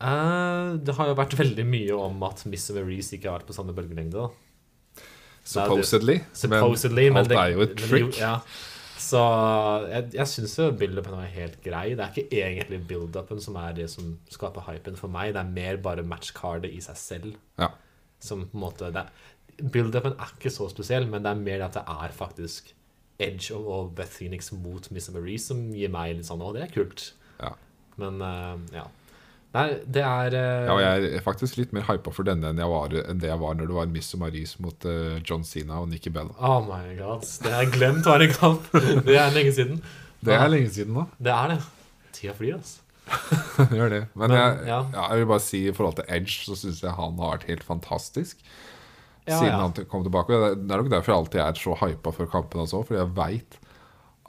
Eh, det har jo vært veldig mye om at Miss og Maurice ikke har vært på samme bølgelengde. da.
Supposedly.
Supposedly, men,
alt
det,
er jo et
men det-
trick.
Ja. Så jeg, jeg syns jo build-upen var helt grei. Det er ikke egentlig build-upen som er det som skaper hypen for meg. Det er mer bare matchcardet i seg selv
Ja.
som på en måte det, Build-upen er ikke så spesiell, men det er mer at det er faktisk Edge og, og Beth Phoenix mot Miss og Maurice som gir meg litt sånn Å, det er kult.
Ja.
Men eh, ja. Nei, det er eh,
Ja, og jeg er faktisk litt mer hypa for denne enn, jeg var, enn det jeg var når det var Miss og Maryse mot eh, John Sina og Nikki Bella.
Oh my god. Det har jeg glemt var en kamp. Det er lenge siden.
Det er lenge siden nå.
Det er det. Tida flyr, altså.
Gjør [laughs] det. Men,
Men,
jeg, ja.
ja.
jeg vil bare si i forhold til Edge, så syns jeg han har vært helt fantastisk.
Ja,
siden
ja.
han t- kom tilbake. Og Det det er nok derfor jeg alltid er så hypa for kampen også, fordi jeg veit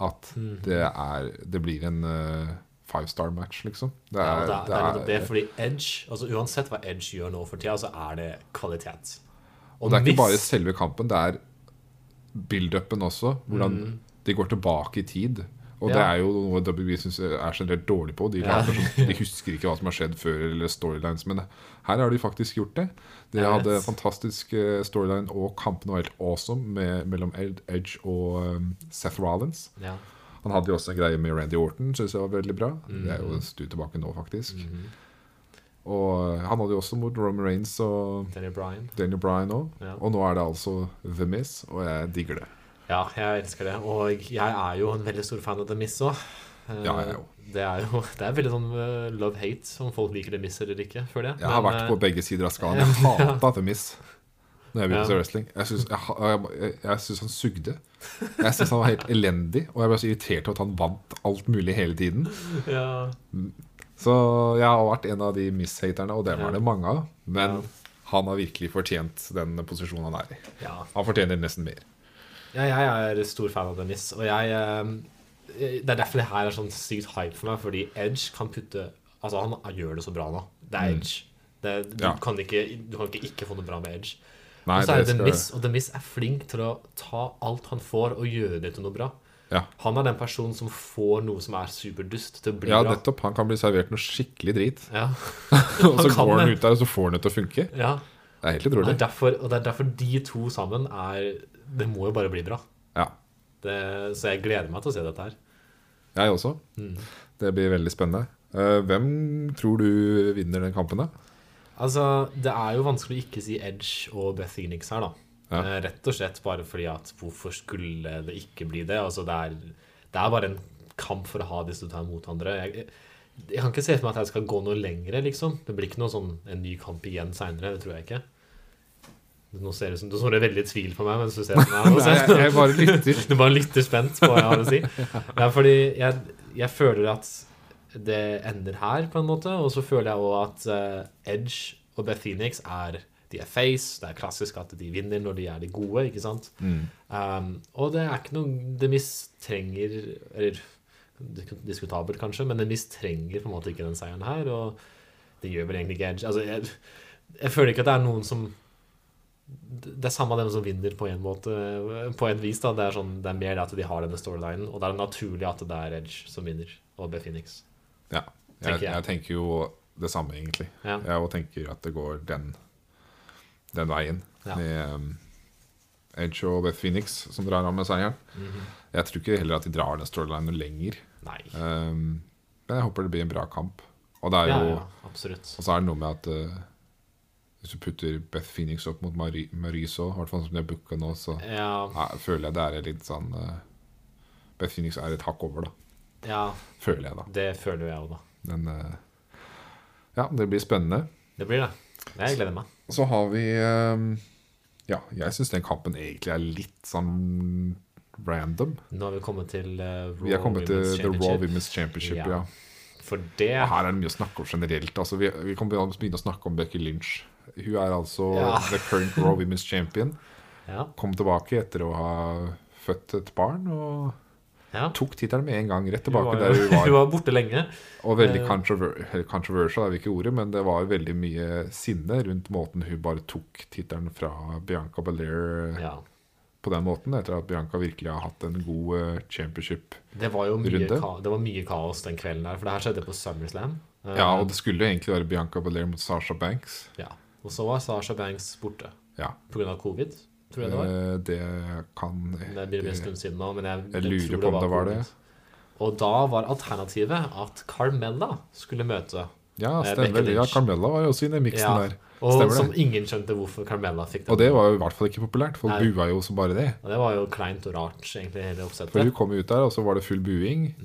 at
Mhm.
det, er, det blir en eh, five star match, liksom. Det
Ja,
er,
det er, det er nettopp det,
det er,
fordi Edge altså Uansett hva Edge gjør nå for tida, så er det kvalitet. Og,
og det er ikke bare
Miz-
selve kampen, det er build-upen også. Hvordan de går tilbake i tid. Og det
Mm. Ja.
er jo noe WWE syns er generelt dårlig på. De,
Ja.
later som,
[laughs]
de husker ikke hva som har skjedd før, eller storylines. Men her har de faktisk gjort det. De
Jeg
hadde
vet.
fantastisk eh, storyline, og kampen var helt awesome med, mellom Ed- Edge og um, Seth Rollins.
ja.
Han hadde jo også en greie med Randy Orton, syns jeg var veldig bra. Det
Mm.
er jo en stund tilbake nå, faktisk.
Mm-hmm.
Og eh, han hadde jo også mot Roman Reigns og
Daniel Bryan.
Daniel Bryan òg.
Ja.
Og nå er det altså The Miz, og jeg digger det.
Ja, jeg elsker det. Og jeg er jo en veldig stor fan av The Miss òg.
Ja, jeg er jo.
Det er jo det er veldig sånn eh, love-hate, om folk liker The Miss eller ikke, føler jeg.
Jeg har
Men,
vært
eh,
på begge sider
[laughs]
av skalaen. Jeg hata The Miz når jeg begynte
Ja.
å se wrestling. Jeg syns jeg, ha- jeg, jeg, jeg synes han sugde. Jeg syns han var helt elendig, og jeg ble så irritert over at han vant alt mulig hele tiden.
eh, ja.
Så jeg har vært en av de Miz-haterne, og det var det mange av. Men
Ja.
han har virkelig fortjent den posisjonen han er i.
ja,
Han fortjener nesten mer.
Ja, jeg er stor fan av Dennis, og jeg eh, Det er derfor det her er sånn sykt hype for meg, fordi Edge kan putte Altså, han gjør det så bra nå. Det er Edge. Det,
Mm.
du,
Ja.
kan ikke, du kan ikke ikke få noe bra med Edge.
Nei,
og så er
det
det The
skal-
Miss, og The Miss er flink til å ta alt han får, og gjøre det til noe bra.
Ja.
Han er den personen som får noe som er superdust, til å bli
ja,
bra.
nettopp. Han kan bli servert noe skikkelig
[laughs]
drit,
Ja,
og så
kan
går han
det.
ut der, og så får han det til å funke.
ja.
Det er helt
Og Det
utrolig.
er derfor, og det er derfor de to sammen er Det må jo bare bli bra.
Ja.
Det, så jeg gleder meg til å se dette her.
Jeg også. Det blir veldig spennende. Eh, hvem tror du vinner den kampen, da?
Altså, det er jo vanskelig å ikke si Edge og Beth Phoenix her, da.
Ja.
Eh, Rett og slett bare fordi at hvorfor skulle det ikke bli det? Altså, det er, det er bare en kamp for å ha disse to her mot hverandre. Jeg, Jeg kan ikke se for meg at jeg skal gå noe lengre, liksom. Det blir ikke noe sånn en ny kamp igjen seinere, det tror jeg ikke. Nå ser det ut som Du så veldig i tvil på meg mens du ser på
[laughs]
meg.
Nei, jeg, jeg bare
[laughs]
lytter.
Du bare lytter spent på hva jeg har å si. Ja, fordi jeg, jeg føler at det ender her, på en måte. Og så føler jeg òg at eh, Edge og Beth Phoenix er de er face. Det er klassisk at de vinner når de er de gode, ikke sant? Um, og det er ikke noe Det mistrenger Eller dis- diskutabelt, kanskje, men det mistrenger på en måte ikke den seieren her. Og det gjør vel egentlig ikke Edge. Altså, jeg, jeg føler ikke at det er noen som det er samme av dem som vinner, på en måte På en vis. da Det er, sånn, det er mer det at de har denne storylinen, og det er naturlig at det er Edge som vinner, og B. Phoenix.
Ja.
Tenker
Jeg,
jeg.
jeg tenker jo det samme, egentlig.
Ja.
Jeg også tenker at det går den, den veien.
Ja.
Med um, Edge og Beth Phoenix som drar av med seieren.
Mhm.
Jeg tror ikke heller at de drar den storylinen lenger.
Nei.
Um, men jeg håper det blir en bra kamp. Og det er
Ja,
jo
ja, absolutt.
Og så er det noe med at eh, hvis du putter Beth Phoenix opp mot Mari- Mariso, i hvert fall som de har booka nå, så
Ja,
ja, føler jeg det er litt sånn eh, Beth Phoenix er et hakk over, da.
ja,
Føler jeg, da.
det føler jo jeg òg, da.
Men eh, ja, det blir spennende.
Det blir det. Jeg gleder meg.
Så har vi eh, Ja, jeg syns den kampen egentlig er litt sånn random.
Nå har vi kommet til eh, Raw
Vi er kommet til
Women's
The Raw
Championship.
Women's Championship,
Ja.
ja.
For det
Og Her er det mye å snakke om generelt. Altså, vi, vi kan begynne begynne å snakke om Becky Lynch. Hun er altså
Ja.
the current Raw Women's Champion.
Ja.
kom tilbake etter å ha født et barn og
ja.
tok tittelen med en gang rett
Hun
tilbake
var,
der
jo- [laughs]
hun var.
hun var borte lenge.
Og
Eh.
veldig controver eller controversial er vel ikke ordet, men det var veldig mye sinne rundt måten hun bare tok tittelen fra Bianca Belair eh,
Ja.
på den måten, etter at Bianca virkelig har hatt en god eh, championship.
Det var jo mye,
Runde.
ka det var mye kaos den kvelden der, for det her skjedde på SummerSlam. Eh,
Ja, og det skulle jo egentlig være Bianca Belair mot Sasha Banks.
ja. Og så var Sasha Banks borte
Ja,
pga. covid, tror jeg det var.
eh, det kan
Det blir en stund siden nå, men jeg,
Eh, Jeg lurer
tror
på om det var
covid.
det.
Og da var alternativet at Carmella skulle møte.
Ja,
Eh,
stemmer.
Becky
Ja,
Lynch.
Carmella var jo også inne i miksen
Ja,
der.
og
Stemmer
som
det.
ingen skjønte hvorfor Carmella fikk den.
Og det var jo i hvert fall ikke populært. Folk
Nei.
bua jo som bare det.
Og det var jo kleint og rart, egentlig, hele
For
oppsettet. Mhm.
hun kom ut der, og så var det full buing.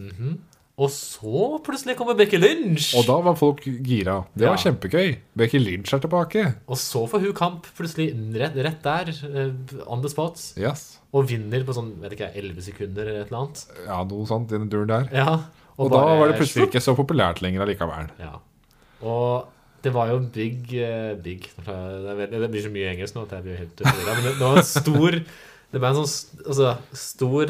Og så plutselig kommer Becky Lynch!
Og da var folk gira. Det var
Ja.
kjempegøy. Becky Lynch er tilbake.
Og så får hun kamp, plutselig rett, rett der, eh, on the spot,
Yes.
og vinner på sånn, vet ikke, 11 sekunder eller et eller annet.
Ja, noe sånt i den duren der.
Ja,
Og, da
bare
var det plutselig
slutt.
ikke så populært lenger allikevel.
Ja. Og det var jo big eh, Big Nå klarer jeg- det, er veldig, det blir så mye engelsk nå at jeg blir helt utrolig. Men det, det var en stor Det ble en sånn st- altså, stor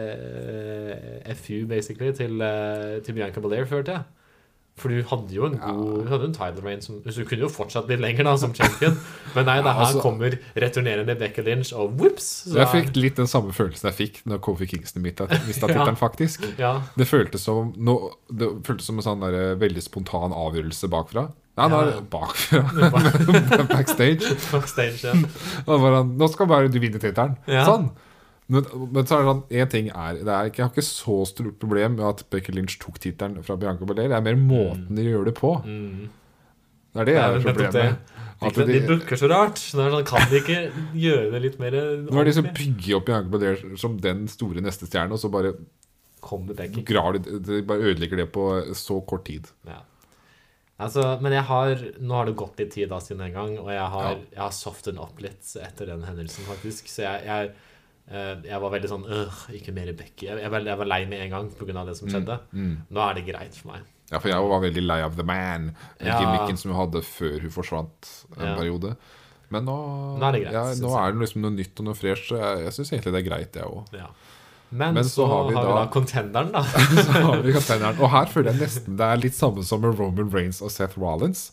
eh, FU, basically, til, eh, til Bianca Belair, følte jeg. For du hadde jo en god Hun hadde en title reign som Så du kunne jo fortsatt litt lenger da som champion. Men nei, det her
altså-
kommer returnerende Becky Lynch, og whoops! så
Så jeg
er-
fikk litt den samme følelsen jeg fikk når Kofi Kingston mista
[laughs] Ja.
tittelen, faktisk.
Ja.
Det føltes som, nå, det føltes som en sånn der, veldig spontan avgjørelse bakfra. Nei, nå er det bakfra. [laughs] Backstage.
Backstage, ja.
Og bare, han, nå skal bare du vinne tittelen.
Ja.
Sånn. Men, men så er det sånn, en ting er, det er ikke, Jeg har ikke så stort problem med at Becky Lynch tok tittelen fra Bianca Belair. Det er mer måten de gjør det på. Det er det
Mm. Det
jeg
er
har
vel nettopp
problemet
det.
med. At
de, de
de-
booker så rart. Så det er sånn, kan de ikke gjøre det liksom litt mer
Nå er de så
ordentlig?
pigge opp Bianca Belair som den store neste stjernen, og så bare,
Kom det begge.
graver de, de bare ødelegger det på så kort tid.
Ja. Altså, men jeg har, nå har det gått litt tid da siden den gang, og jeg har,
Ja.
jeg har soften opp litt etter den hendelsen, faktisk. Så jeg, jeg, eh, jeg var veldig sånn øh, ikke mer Becky. Jeg, jeg, var- jeg var lei med en gang pga. det som skjedde. Nå er det greit for meg.
Ja, for jeg var veldig lei av The Man, den
Ja.
gimmicken som hun hadde før hun forsvant en
Ja.
periode. Men nå,
Nå er det greit,
ja,
synes
nå
jeg.
er det liksom noe nytt og noe fresh. så Jeg, jeg syns egentlig det er greit, jeg òg.
Ja. Men,
Men
så, har vi da, contenderen,
[laughs]
da.
Så har vi containeren. Og her føler jeg nesten det er litt samme som med Roman Reigns og Seth Rollins.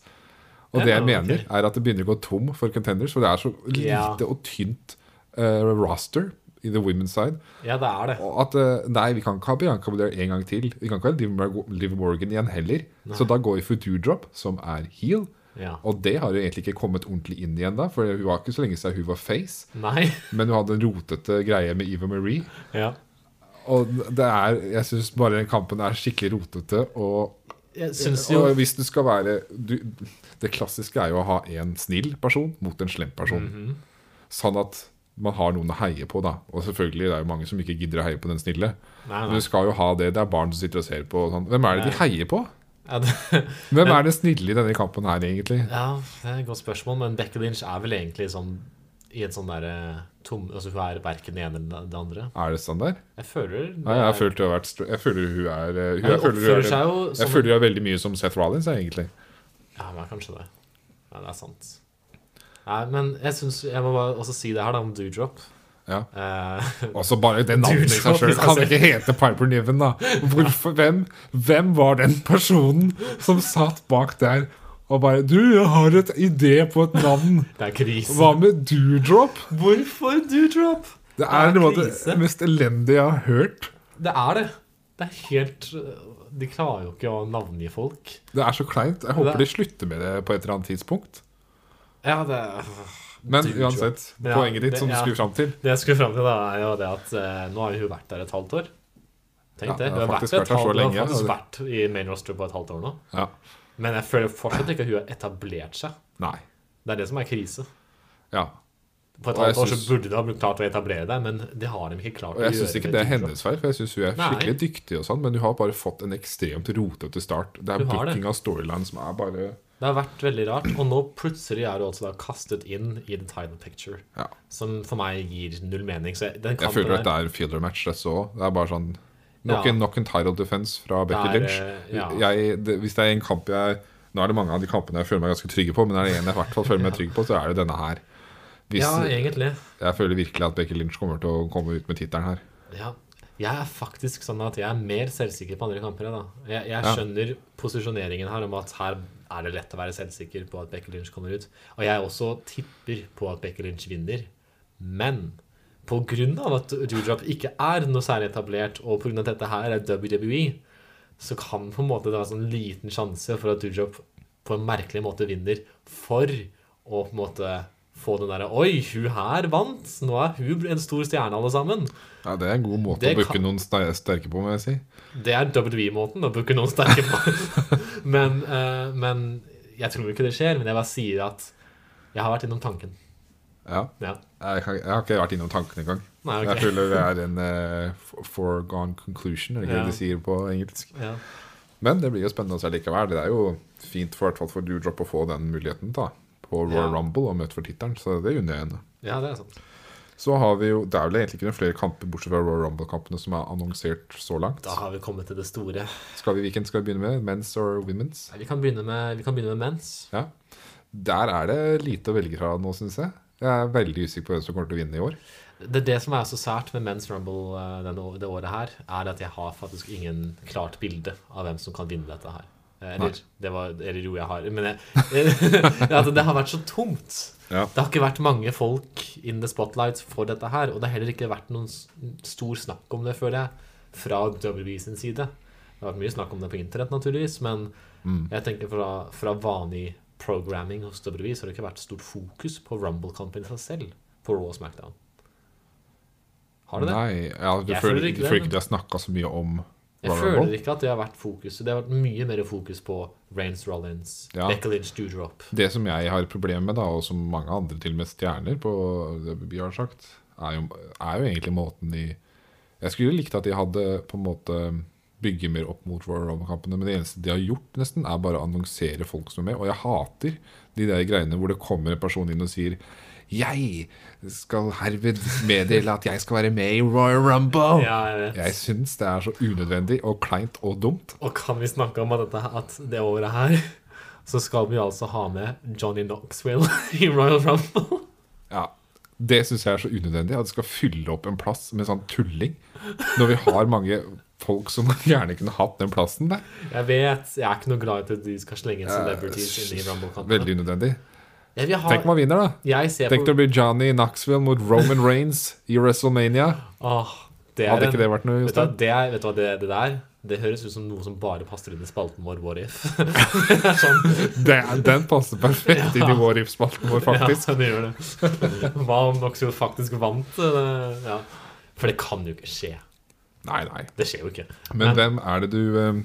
Og det
Ja,
jeg mener,
ok.
er at det begynner å gå tom for contenders, for det er så lite
Ja.
og tynt eh, roster i the women's side.
Ja, det er det.
Og at eh, nei, vi kan ikke ha Bianca Belair en gang til. Vi kan ikke ha Liv Mar- Liv Morgan igjen heller. Så da går vi for Doodrop, som er heel.
Ja.
Og det har jo egentlig ikke kommet ordentlig inn igjen da, for hun var ikke så lenge siden hun var face.
Nei.
Men hun hadde en rotete greie med Eva Marie.
Ja.
Og det er, jeg syns bare den kampen er skikkelig rotete. Og,
Jeg syns jo
og hvis du skal være du, Det klassiske er jo å ha en snill person mot en slem person. Sånn at man har noen å heie på, da. Og selvfølgelig det er jo mange som ikke gidder å heie på den snille.
Nei,
Men
nei.
Du skal jo ha det. Det er barn som sitter og ser på. Og sånn. Hvem er det de heier på?
Ja, det,
Hvem er det snille i denne kampen her, egentlig?
Ja, det er et godt spørsmål, men Becky Lynch er vel egentlig sånn i en sånn derre tom Altså hun er verken det ene eller det andre.
Er det sånn der?
Jeg føler
Nei, jeg føler det har vært str- Jeg føler hun er eh, hun,
Hun
jeg føler hun
oppfører
er,
seg jo
jeg
som
føler hun er veldig mye som Seth Rollins, jeg, egentlig.
Ja, men kanskje det. Ja, det er sant. Nei, men jeg syns Jeg må bare også si det her, da, om Doodrop.
Ja.
Eh, [laughs]
Også bare det navnet i seg
Dude,
sjøl
i seg
kan
selv.
ikke hete Piper Niven, da. Hvorfor, hvem, hvem var den personen som satt bak der og bare Du, jeg har et idé på et navn.
det er krise.
Hva med Doodrop?
Hvorfor Doodrop?
Det er
Det er
noe av
krise.
det mest elendige jeg har hørt.
Det er det. Det er helt øh, De klarer jo ikke å navngi folk.
Det er så kleint. Jeg
Det
håper
er-
de slutter med det på et eller annet tidspunkt.
Ja, det
Men
Doodrop.
uansett,
Ja,
poenget ditt
det-
som du
ja.
skulle fram til
Det jeg skulle fram til, da, er jo det at eh, nå har jo hun vært der et halvt år. Tenk
Ja,
det.
hun
Hun
har
har vært,
faktisk
der
vært
et
der så
halvt, hun
lenge, altså.
har faktisk
og
vært i main roster på et halvt år nå.
Ja.
Men jeg føler fortsatt ikke at hun har etablert seg.
Nei.
Det er det som er krise.
Ja.
På
Og
et
jeg
halvt år så
synes-
burde de ha klart å etablere deg, men det har de ikke klart
Og
å
jeg
gjøre.
syns ikke
med
det er
Doudrop.
hennes feil, for jeg syns hun er
Nei.
skikkelig dyktig, og sånn men hun har bare fått en ekstremt rotete start. Det er
Du har det.
booking av storyline som er bare
Det har vært veldig rart, og nå plutselig er du altså da kastet inn i the title picture.
Ja.
Som for meg gir null mening. Så jeg, den
Jeg
kampen
føler at det er fielder match, det så. Det er bare sånn Nok,
Ja.
en, nok en title defense fra Becky
Det er,
Lynch.
eh, ja.
Jeg, det, hvis det er en kamp jeg Nå er det mange av de kampene jeg føler meg ganske trygge på, men er det en jeg i hvert fall føler meg trygg på, så er det denne her. Hvis,
Ja, egentlig.
jeg føler virkelig at Becky Lynch kommer til å komme ut med tittelen her.
Ja, jeg er faktisk sånn at jeg er mer selvsikker på andre kamper. jeg, Da. Jeg, jeg
Ja.
skjønner posisjoneringen her om at her er det lett å være selvsikker på at Becky Lynch kommer ut. Og jeg også tipper på at Becky Lynch vinner. Men på grunn av at Doudrop ikke er noe særlig etablert, og på grunn av at dette her er WWE, så kan på en måte det være sånn liten sjanse for at Doudrop på en merkelig måte vinner for å på en måte få den derre Oi, hun her vant! Nå er hun en stor stjerne, alle sammen.
Ja, Det er en god måte
Det
å booke
kan-
noen ster- sterke på, må jeg si.
Det er WWE-måten å booke noen sterke på. men, eh, men jeg tror ikke det skjer, men jeg bare sier at jeg har vært innom tanken.
Ja.
Ja.
Jeg, kan, jeg har ikke vært innom tanken engang.
Nei, ok.
Jeg føler det er en eh, f- foregone conclusion, eller hva
Ja.
de sier på engelsk.
ja.
Men det blir jo spennende å se likevel. Det er jo fint for, i hvert fall for Doudrop å få den muligheten da, på Royal
Ja.
Rumble og møte for tittelen, så det unner jeg henne.
ja, det er sant.
Så har vi jo, Det er vel egentlig ikke noen flere kamper bortsett fra Royal Rumble-kampene som er annonsert så langt.
Da har vi kommet til det store.
Skal vi hvilken skal vi begynne med? Men's or women's?
Vi kan begynne med, vi kan begynne med mens.
Ja. Der er det lite å velge fra nå, syns jeg. Jeg er veldig usikker på hvem som kommer til å vinne i år.
Det, er det som er så sært med Men's Rumble eh, denne, å- det året her, er at jeg har faktisk ingen klart bilde av hvem som kan vinne dette her. Eh, Eller, det var, eller jo, jeg har Men jeg, [laughs] at det har vært så tomt.
Ja.
Det har ikke vært mange folk in the spotlight for dette her, og det har heller ikke vært noen s- stor snakk om det, føler jeg, fra WWE sin side. Det har vært mye snakk om det på internett, naturligvis, men
Mm.
jeg tenker fra, fra vanlig programming hos WWE, så har det ikke vært stort fokus på Rumble-kampen i seg selv på Raw og SmackDown. Har det det?
Nei, ja, du
Jeg
føler,
føler ikke
ikke, du
det,
føler
men-
ikke de har snakka så mye om
Jeg
Royal
føler
Rumble?
ikke at det har vært fokus. Det har vært mye mer fokus på Rains Rollins,
Ja.
Becka Lynch, Doudrop.
Det som jeg har problemer med, da, og som mange andre til og med stjerner på WWE har sagt, er jo, er jo egentlig måten de Jeg skulle likt at de hadde på en måte bygge mer opp mot Royal Rumble-kampene, men det eneste de har gjort, nesten, er bare å annonsere folk som er med. Og jeg hater de der greiene hvor det kommer en person inn og sier Jeg skal herved meddele at jeg skal være med i Royal Rumble.
Ja, jeg vet.
Jeg syns det er så unødvendig og kleint og dumt.
Og kan vi snakke om at, dette, at det året her så skal vi altså ha med Johnny Knoxville [laughs] i Royal Rumble?
Ja, Det syns jeg er så unødvendig. At det skal fylle opp en plass med sånn tulling. Når vi har mange folk som gjerne kunne hatt den plassen der.
Jeg vet, jeg er ikke noe glad i at de skal slenge inn celebrities inn i Rumble-kampen.
Veldig unødvendig.
Jeg vil
Tenk om
ha
han vinner, da.
Jeg ser
Tenk
på
det å bli Johnny Knoxville mot Roman Reigns i WrestleMania.
Åh, det er
Hadde ikke det
en
vært noe?
Vet du, hva,
Jostein?
det, er, vet du hva det, det der Det høres ut som noe som bare passer inn i spalten vår What if? [laughs] Det er sånn,
Det- Den passer perfekt inn i vår spalten vår, faktisk.
Ja, det gjør det. [laughs] Hva om Knoxville faktisk vant? Det, ja. For det kan jo ikke skje.
Nei, nei.
Det skjer jo ikke.
Men hvem er det du eh,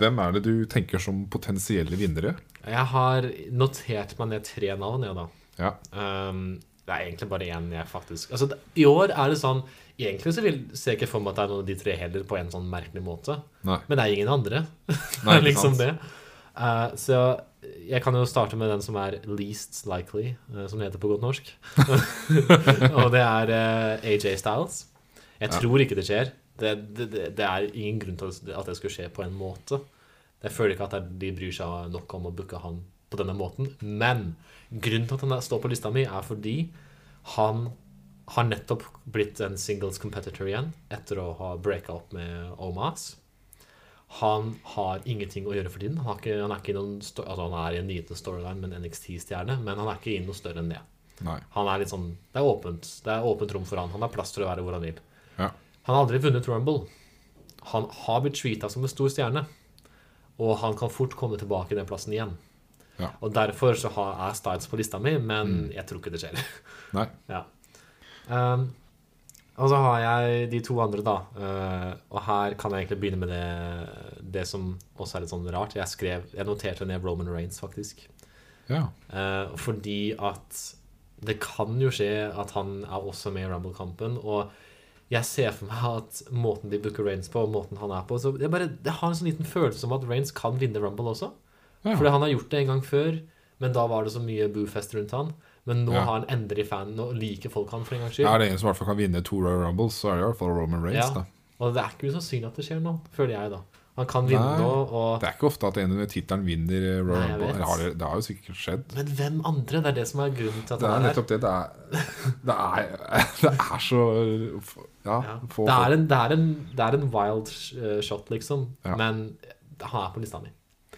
Hvem er det du tenker som potensielle vinnere?
Jeg har notert meg ned tre navn, jeg, da.
Ja.
Um, Det er egentlig bare én jeg faktisk Altså, det, i år er det sånn Egentlig så vil, ser jeg ikke for meg at det er noen av de tre heller, på en sånn merkelig måte.
Nei.
Men det er ingen andre. [laughs]
Nei,
Det
ikke
er liksom
sant.
det. Eh, så jeg kan jo starte med den som er least likely, eh, som det heter på godt
[laughs]
norsk. og det er eh, AJ Styles. Jeg
Ja.
tror ikke det skjer. Det, det, det det er ingen grunn til at det skulle skje på en måte. Jeg føler ikke at det- de bryr seg nok om å booke han på denne måten. Men grunnen til at han er- står på lista mi, er fordi han har nettopp blitt en singles competitor igjen etter å ha breaka opp med Omas. Han har ingenting å gjøre for tiden. Han, har ikke, han, er, ikke i noen, sto- altså han er i en liten storyline med en NXT-stjerne, men han er ikke i noe større enn det.
Nei.
Han er litt sånn, Det er åpent Det er åpent rom for han. Han har plass til å være hvor han vil.
Ja.
Han har aldri vunnet Rumble. Han har blitt treata som en stor stjerne. Og han kan fort komme tilbake i den plassen igjen.
Ja.
Og derfor så har, er Styles på lista mi, men jeg tror ikke det skjer.
Nei.
Ja. Ehm, og så har jeg de to andre, da. Eh, og her kan jeg egentlig begynne med det, det som også er litt sånn rart. Jeg, skrev, jeg noterte ned Roman Reigns, faktisk.
Ja.
Eh, fordi at det kan jo skje at han er også med i Rumble-kampen. Og jeg ser for meg at måten de booker Reigns på, og måten han er på så jeg, bare, jeg har en sånn liten følelse om at Reigns kan vinne Rumble også.
Ja.
Fordi han har gjort det en gang før, men da var det så mye boofest rundt han. Men nå
Ja.
har han endelig fan, nå liker folk han for en gangs skyld.
Er det en som i hvert fall kan vinne to Royal Rumbles, så er det i hvert fall Roman Reigns.
Ja.
Da.
Og det er ikke usannsynlig at det skjer nå, føler jeg, da. Han kan
Nei.
vinne nå, og
Det er ikke ofte at en med tittelen vinner eh, Royal
Nei, jeg
Rumble.
vet.
Eller har det, det har jo sikkert skjedd.
Men hvem andre? Det er det som er grunnen til at
Det er
han er der.
nettopp det. Det
[laughs]
er, det er, [laughs] det er så Ja,
Ja.
få
Det, er en, det, er en, det er en wild sh- eh, shot, liksom.
Ja.
Men han er på lista mi.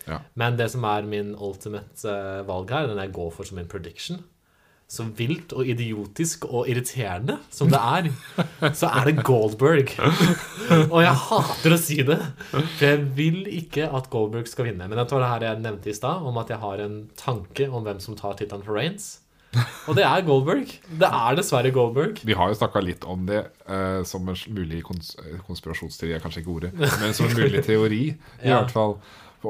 Ja.
Men det som er min ultimate eh, valg her, den jeg går for som en prediction Så vilt og idiotisk og irriterende som det
[laughs]
er, så er det Goldberg. Og jeg hater å si det, for jeg vil ikke at Goldberg skal vinne. Men jeg tror det her jeg nevnte i stad, om at jeg har en tanke om hvem som tar tittelen for Reigns. Og det er Goldberg. Det er dessverre Goldberg.
Vi har jo snakka litt om det eh, som en mulig kons eh, konspirasjonsteori, er kanskje ikke
[laughs]
ordet, men som en mulig teori, i
Ja.
hvert fall.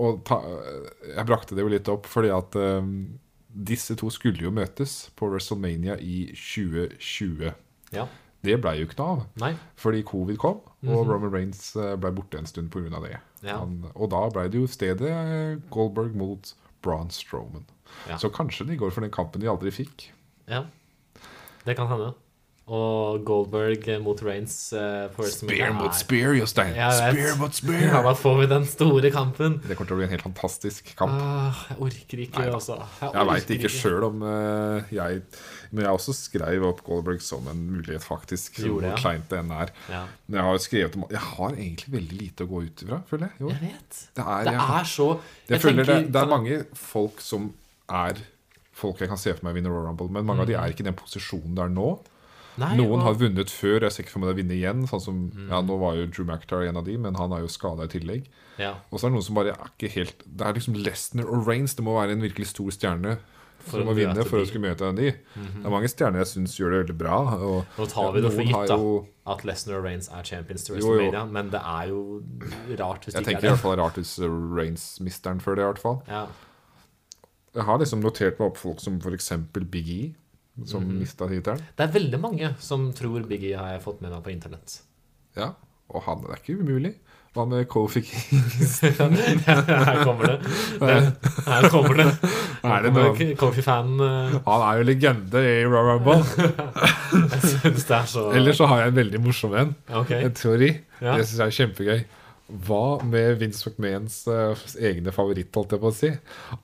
Og ta, eh, jeg brakte det jo litt opp fordi at eh, disse to skulle jo møtes på WrestleMania i 2020.
Ja.
Det blei jo ikke noe av,
Nei.
fordi covid kom, og Roman Reigns eh, blei borte en stund pga. det.
Mhm. Ja.
Han, og da blei det jo stedet eh, Goldberg mot Braun Strowman.
Ja.
Så kanskje de går for den kampen de aldri fikk.
Ja. Det kan hende. Og Goldberg eh, mot Reigns eh, på WrestleMania
Spear mot
er-
spear, Jostein!
Jeg vet.
Spear mot spear!
Ja, da får vi den store kampen.
Det kommer til å bli en helt fantastisk kamp.
Ah, jeg orker ikke,
Neida.
altså.
Jeg veit
orker
ikke sjøl om eh, jeg Men jeg også skrev opp Goldberg som en mulighet, faktisk.
Gjorde
Hvor
jeg?
kleint det enn er.
Ja.
Men jeg har jo skrevet om Jeg har egentlig veldig lite å gå ut ifra, føler jeg. Jo.
Jeg vet.
Det er,
Det
jeg,
er så
jeg føler det, det er mange folk som er folk jeg kan se for meg vinner Royal Rumble, men mange av de er ikke i den posisjonen der nå.
Nei,
Noen
og- Mm.
har vunnet før, jeg ser ikke for meg å vinne igjen. Sånn som, ja, Nå var jo Drew McIntyre en av de, men han er jo skada i tillegg.
ja,
Og så er det noen som bare er ikke helt Det er liksom Lesnar og Reigns. Det må være en virkelig stor stjerne
For
for,
å
å vinne
møte
for
de. Mhm.
å skulle møte en av de. Det er mange stjerner jeg syns gjør det veldig bra. Og
Nå tar vi det for
noen har
gitt, da.
jo-
At Lesnar og Reigns er champions til
Jo, jo.
WrestleMania, men det er jo rart hvis
jeg
det ikke
tenker i
er
hvert fall rart hvis Reigns mister den før det, i hvert fall.
Ja.
Jeg har liksom notert meg opp folk som f.eks. Big E, som
Mhm.
mistet mista tittelen.
Det er veldig mange som tror Biggie har jeg fått med meg på internett.
Ja. Og han det er ikke umulig. Hva med Kofi
Her kommer det. det. Her kommer det.
Er det noe?
Coffee-fan eh,
[laughs] Han er jo legende i Royal Rumble.
Jeg syns det er så
[laughs] Ellers så har jeg en veldig morsom en.
Ok.
En teori.
Ja.
Det syns jeg er kjempegøy. Hva med Vince McMahons eh, egne favoritt, holdt jeg på å si?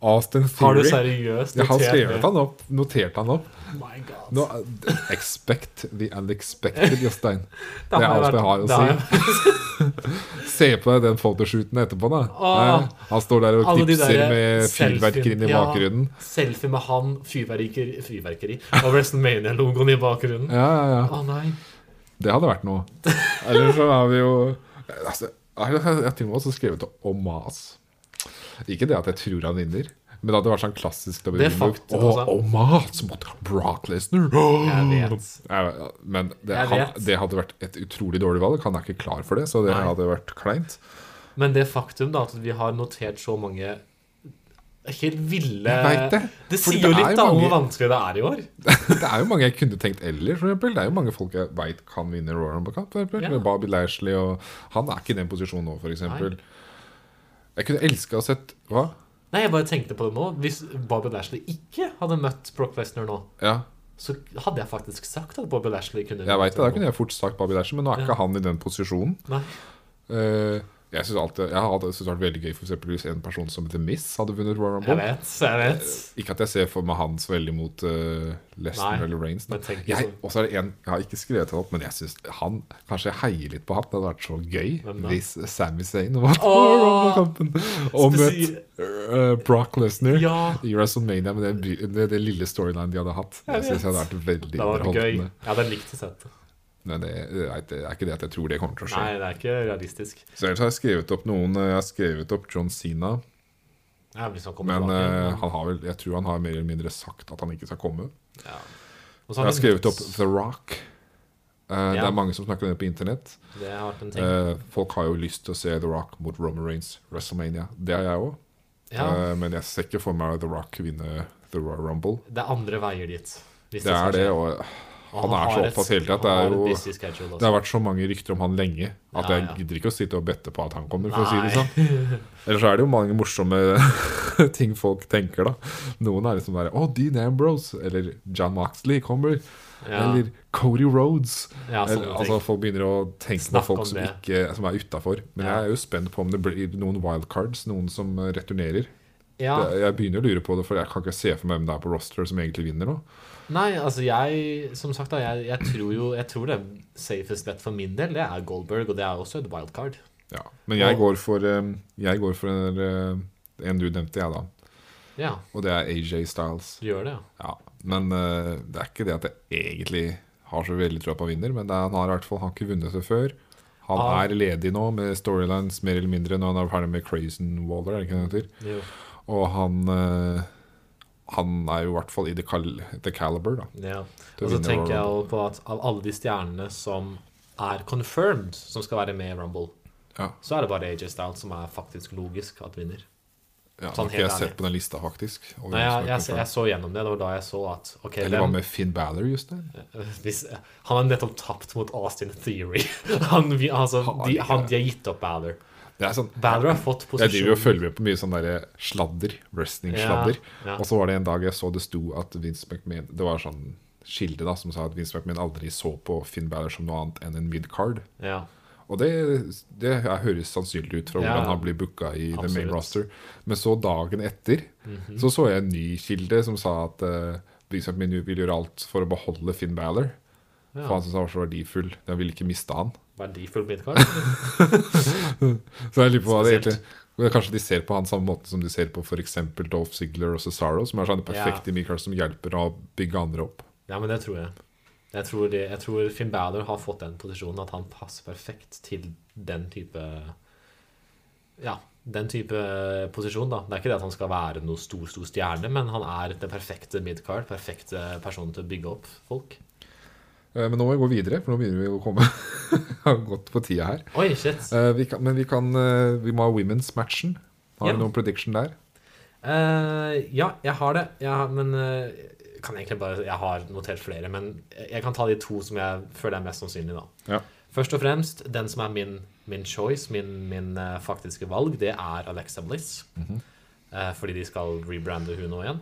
Austin
Har du
Theory.
seriøst
Jeg har
notert det?
skrevet han opp, notert han opp.
My God.
Nå, eh, expect the unexpected, Jostein.
[laughs] Da
Det er alt
vært-
jeg har å
da
si.
jeg-
Se på deg den photoshooten etterpå, da.
Åh.
Eh, Han står der og
Alle de
knipser
derre
med
selfie-
fyrverkeri i
Ja,
bakgrunnen.
Selfie med han, fyrverkeri, fyrverkeri og WrestleMania-logoen i bakgrunnen. Å
Ja, ja, ja.
nei.
Det hadde vært
[laughs]
noe. Eller så har vi jo altså, Jeg har til og med også skrevet Omas. Ikke det at jeg tror han vinner, men det hadde vært sånn klassisk
Det er
WWE-move.
faktum,
Å,
altså.
Omas mot Brock Lesnar!
Jeg vet.
Jeg- Men det,
Jeg
han,
vet.
det hadde vært et utrolig dårlig valg. Han er ikke klar for det, så det
Nei.
hadde vært kleint.
Men det faktum da at vi har notert så mange Helt ville
Jeg vet det,
Det
fordi
sier jo
det er
litt da om
mange-
hvor vanskelig det er i år.
Det er jo mange jeg kunne tenkt ellers, for eksempel. Det er jo mange folk jeg veit kan vinne Royal Rumble Cup. For eksempel.
Ja.
Bobby Lashley og Han er ikke i den posisjonen nå, for eksempel.
Nei.
Jeg kunne elska å sett Hva?
Nei, jeg bare tenkte på det nå. Hvis Bobby Lashley ikke hadde møtt Brock Lesnar nå,
Ja,
så hadde jeg faktisk sagt at Bobby Lashley kunne
jeg veit det. Da kunne jeg fort sagt Bobby Lashley, men nå er ikke han i den posisjonen.
Nei.
Eh, jeg syns alltid Jeg hadde syntes det hadde vært veldig gøy for eksempel hvis en person som heter Miss hadde vunnet Royal
Jeg
Rumble.
vet, jeg vet.
Ikke at jeg ser for meg han så veldig mot uh, Lesnar
Nei,
eller Reigns. da.
men tenk
Jeg,
sånn.
også er det en, jeg har ikke skrevet han opp, men jeg synes han Kanskje jeg heier litt på han. Det hadde vært så
Hvem
gøy
da?
hvis Sami Zayn var på
Åh!
Rumble-kampen og møtt
Spesielt-
eh, Brock Lesnar
Ja.
i WrestleMania med den, by- det, det lille storylinen de hadde hatt.
Jeg
Jeg synes det hadde vært veldig
Det hadde vært gøy.
underholdende.
Jeg hadde likt å sett det.
Men det, det, er, det er ikke det at jeg tror det kommer til å skje.
Nei, det er ikke realistisk.
Så ellers har jeg skrevet opp noen eh, Jeg har skrevet opp John Cena,
Jeg vil liksom komme
men eh,
tilbake.
han har vel, jeg tror han har mer eller mindre sagt at han ikke skal komme.
Ja. Og
Jeg
så
har
har vi
skrevet opp
Miz.
The Rock. Eh, Det
Ja.
er mange som snakker om det på internett.
Det har vært en ting.
Eh, folk har jo lyst til å se The Rock mot Roman Reigns WrestleMania. Det har jeg òg.
ja,
men jeg ser ikke for meg The Rock vinne The Royal Rumble.
det er andre veier dit. hvis
Det
skal
er det,
skje.
og
Og
han er så
har et-
opptatt hele tida at det
han
er
har et
jo
busy schedule
det har
også.
vært så mange rykter om han lenge at
Ja,
jeg
ja.
gidder ikke å sitte og bette på at han kommer. for å si det
Nei.
sånn.
[laughs]
Ellers er det jo mange morsomme [laughs] ting folk tenker, da. Noen er liksom der Å, Dean Ambrose. Eller John Moxley kommer.
Ja.
Eller Cody Rhodes.
Ja, sånne
eller, altså,
ting.
folk begynner å tenke
Snakk
på folk
om
som,
det.
ikke, som er utafor. Men
Ja.
jeg er jo spent på om det blir noen wildcards, noen som eh, returnerer.
Ja.
Det- Jeg begynner å lure på det, for jeg kan ikke se for meg hvem det er på roster som egentlig vinner nå.
Nei, altså jeg Som sagt, da, jeg, jeg tror jo Jeg tror det safest bet for min del, det er Goldberg, og det er også et wildcard.
Ja. Men jeg
Og-
går for, eh, jeg går for en, eh, en du nevnte, jeg, da.
Ja,
Og det er AJ Styles.
du gjør det, ja.
Ja, men eh, det er ikke det at jeg egentlig har så veldig tro på han vinner, men det er, han har i hvert fall han har ikke vunnet det før. Han
Ah.
er ledig nå med storylines mer eller mindre når han er ferdig med Crazen Waller, er det ikke det han heter?
Jo.
Og han eh, han er jo i hvert fall i the, cal the caliber, da.
Ja.
til å
Og
vinne
så tenker jeg
Royal
jo på at av alle de stjernene som er confirmed, som skal være med i Rumble,
Ja.
så er det bare AJ Styles som er faktisk logisk at vinner.
Ja, har
Sånn
ikke
helt
jeg
ærlig.
sett på den lista, faktisk. over
Nei,
hvem som
jeg,
er
jeg, jeg,
confirmed.
så gjennom det. Det var da jeg så at ok,
Eller hva
hvem,
med Finn Balor, Jostein?
[laughs] hvis, Han har nettopp tapt mot Austin Theory. [laughs] Han, vi- altså,
Har
de,
de-
han, de har gitt opp Balor.
Det er sånn
Balor har fått
Jeg
posisjon.
driver og følger med på mye sånn der sladder. Wrestling-sladder.
Ja, ja.
Og så var det en dag jeg så det sto at Vince McMahon Det var sånn kilde da som sa at Vince McMahon aldri så på Finn Balor som noe annet enn en midcard.
Ja.
Og det, det høres sannsynlig ut fra
Ja,
hvordan
ja.
han blir booka i the main
Absolutt. Mhm.
roster. Men så dagen etter så så jeg en ny kilde som sa at eh, Vince McMahon vil gjøre alt for å beholde Finn Balor.
Ja.
For han syntes han var så verdifull. Jeg ville ikke miste han.
Verdifull midcard. [laughs]
Så jeg lurer på hva det
Spesielt.
egentlig Kanskje de ser på han samme måten som de ser på f.eks. Dolph Ziggler og Cesaro, som er sånn sånne perfekte ja. som hjelper å bygge andre opp.
Ja, men det tror jeg. Jeg tror, det, jeg tror Finn Balor har fått den posisjonen at han passer perfekt til den type Ja, den type posisjon, da. Det er ikke det at han skal være noe stor, stor stjerne, men han er den perfekte midcard, perfekte personen til å bygge opp folk.
Eh, Men nå må vi gå videre, for nå begynner vi å komme [laughs] har gått på tida her.
Oi, shit!
Eh, Vi kan, men vi kan eh, Vi må ha women's-matchen. Har
Ja.
du noen prediction der?
Eh, ja, jeg har det. Jeg har, men eh, kan egentlig bare Jeg har notert flere, men jeg kan ta de to som jeg føler er mest sannsynlig, da.
Ja.
Først og fremst, den som er min, min choice, min, min eh, faktiske valg, det er Alexa Bliss. Eh, fordi de skal rebrande hun nå igjen.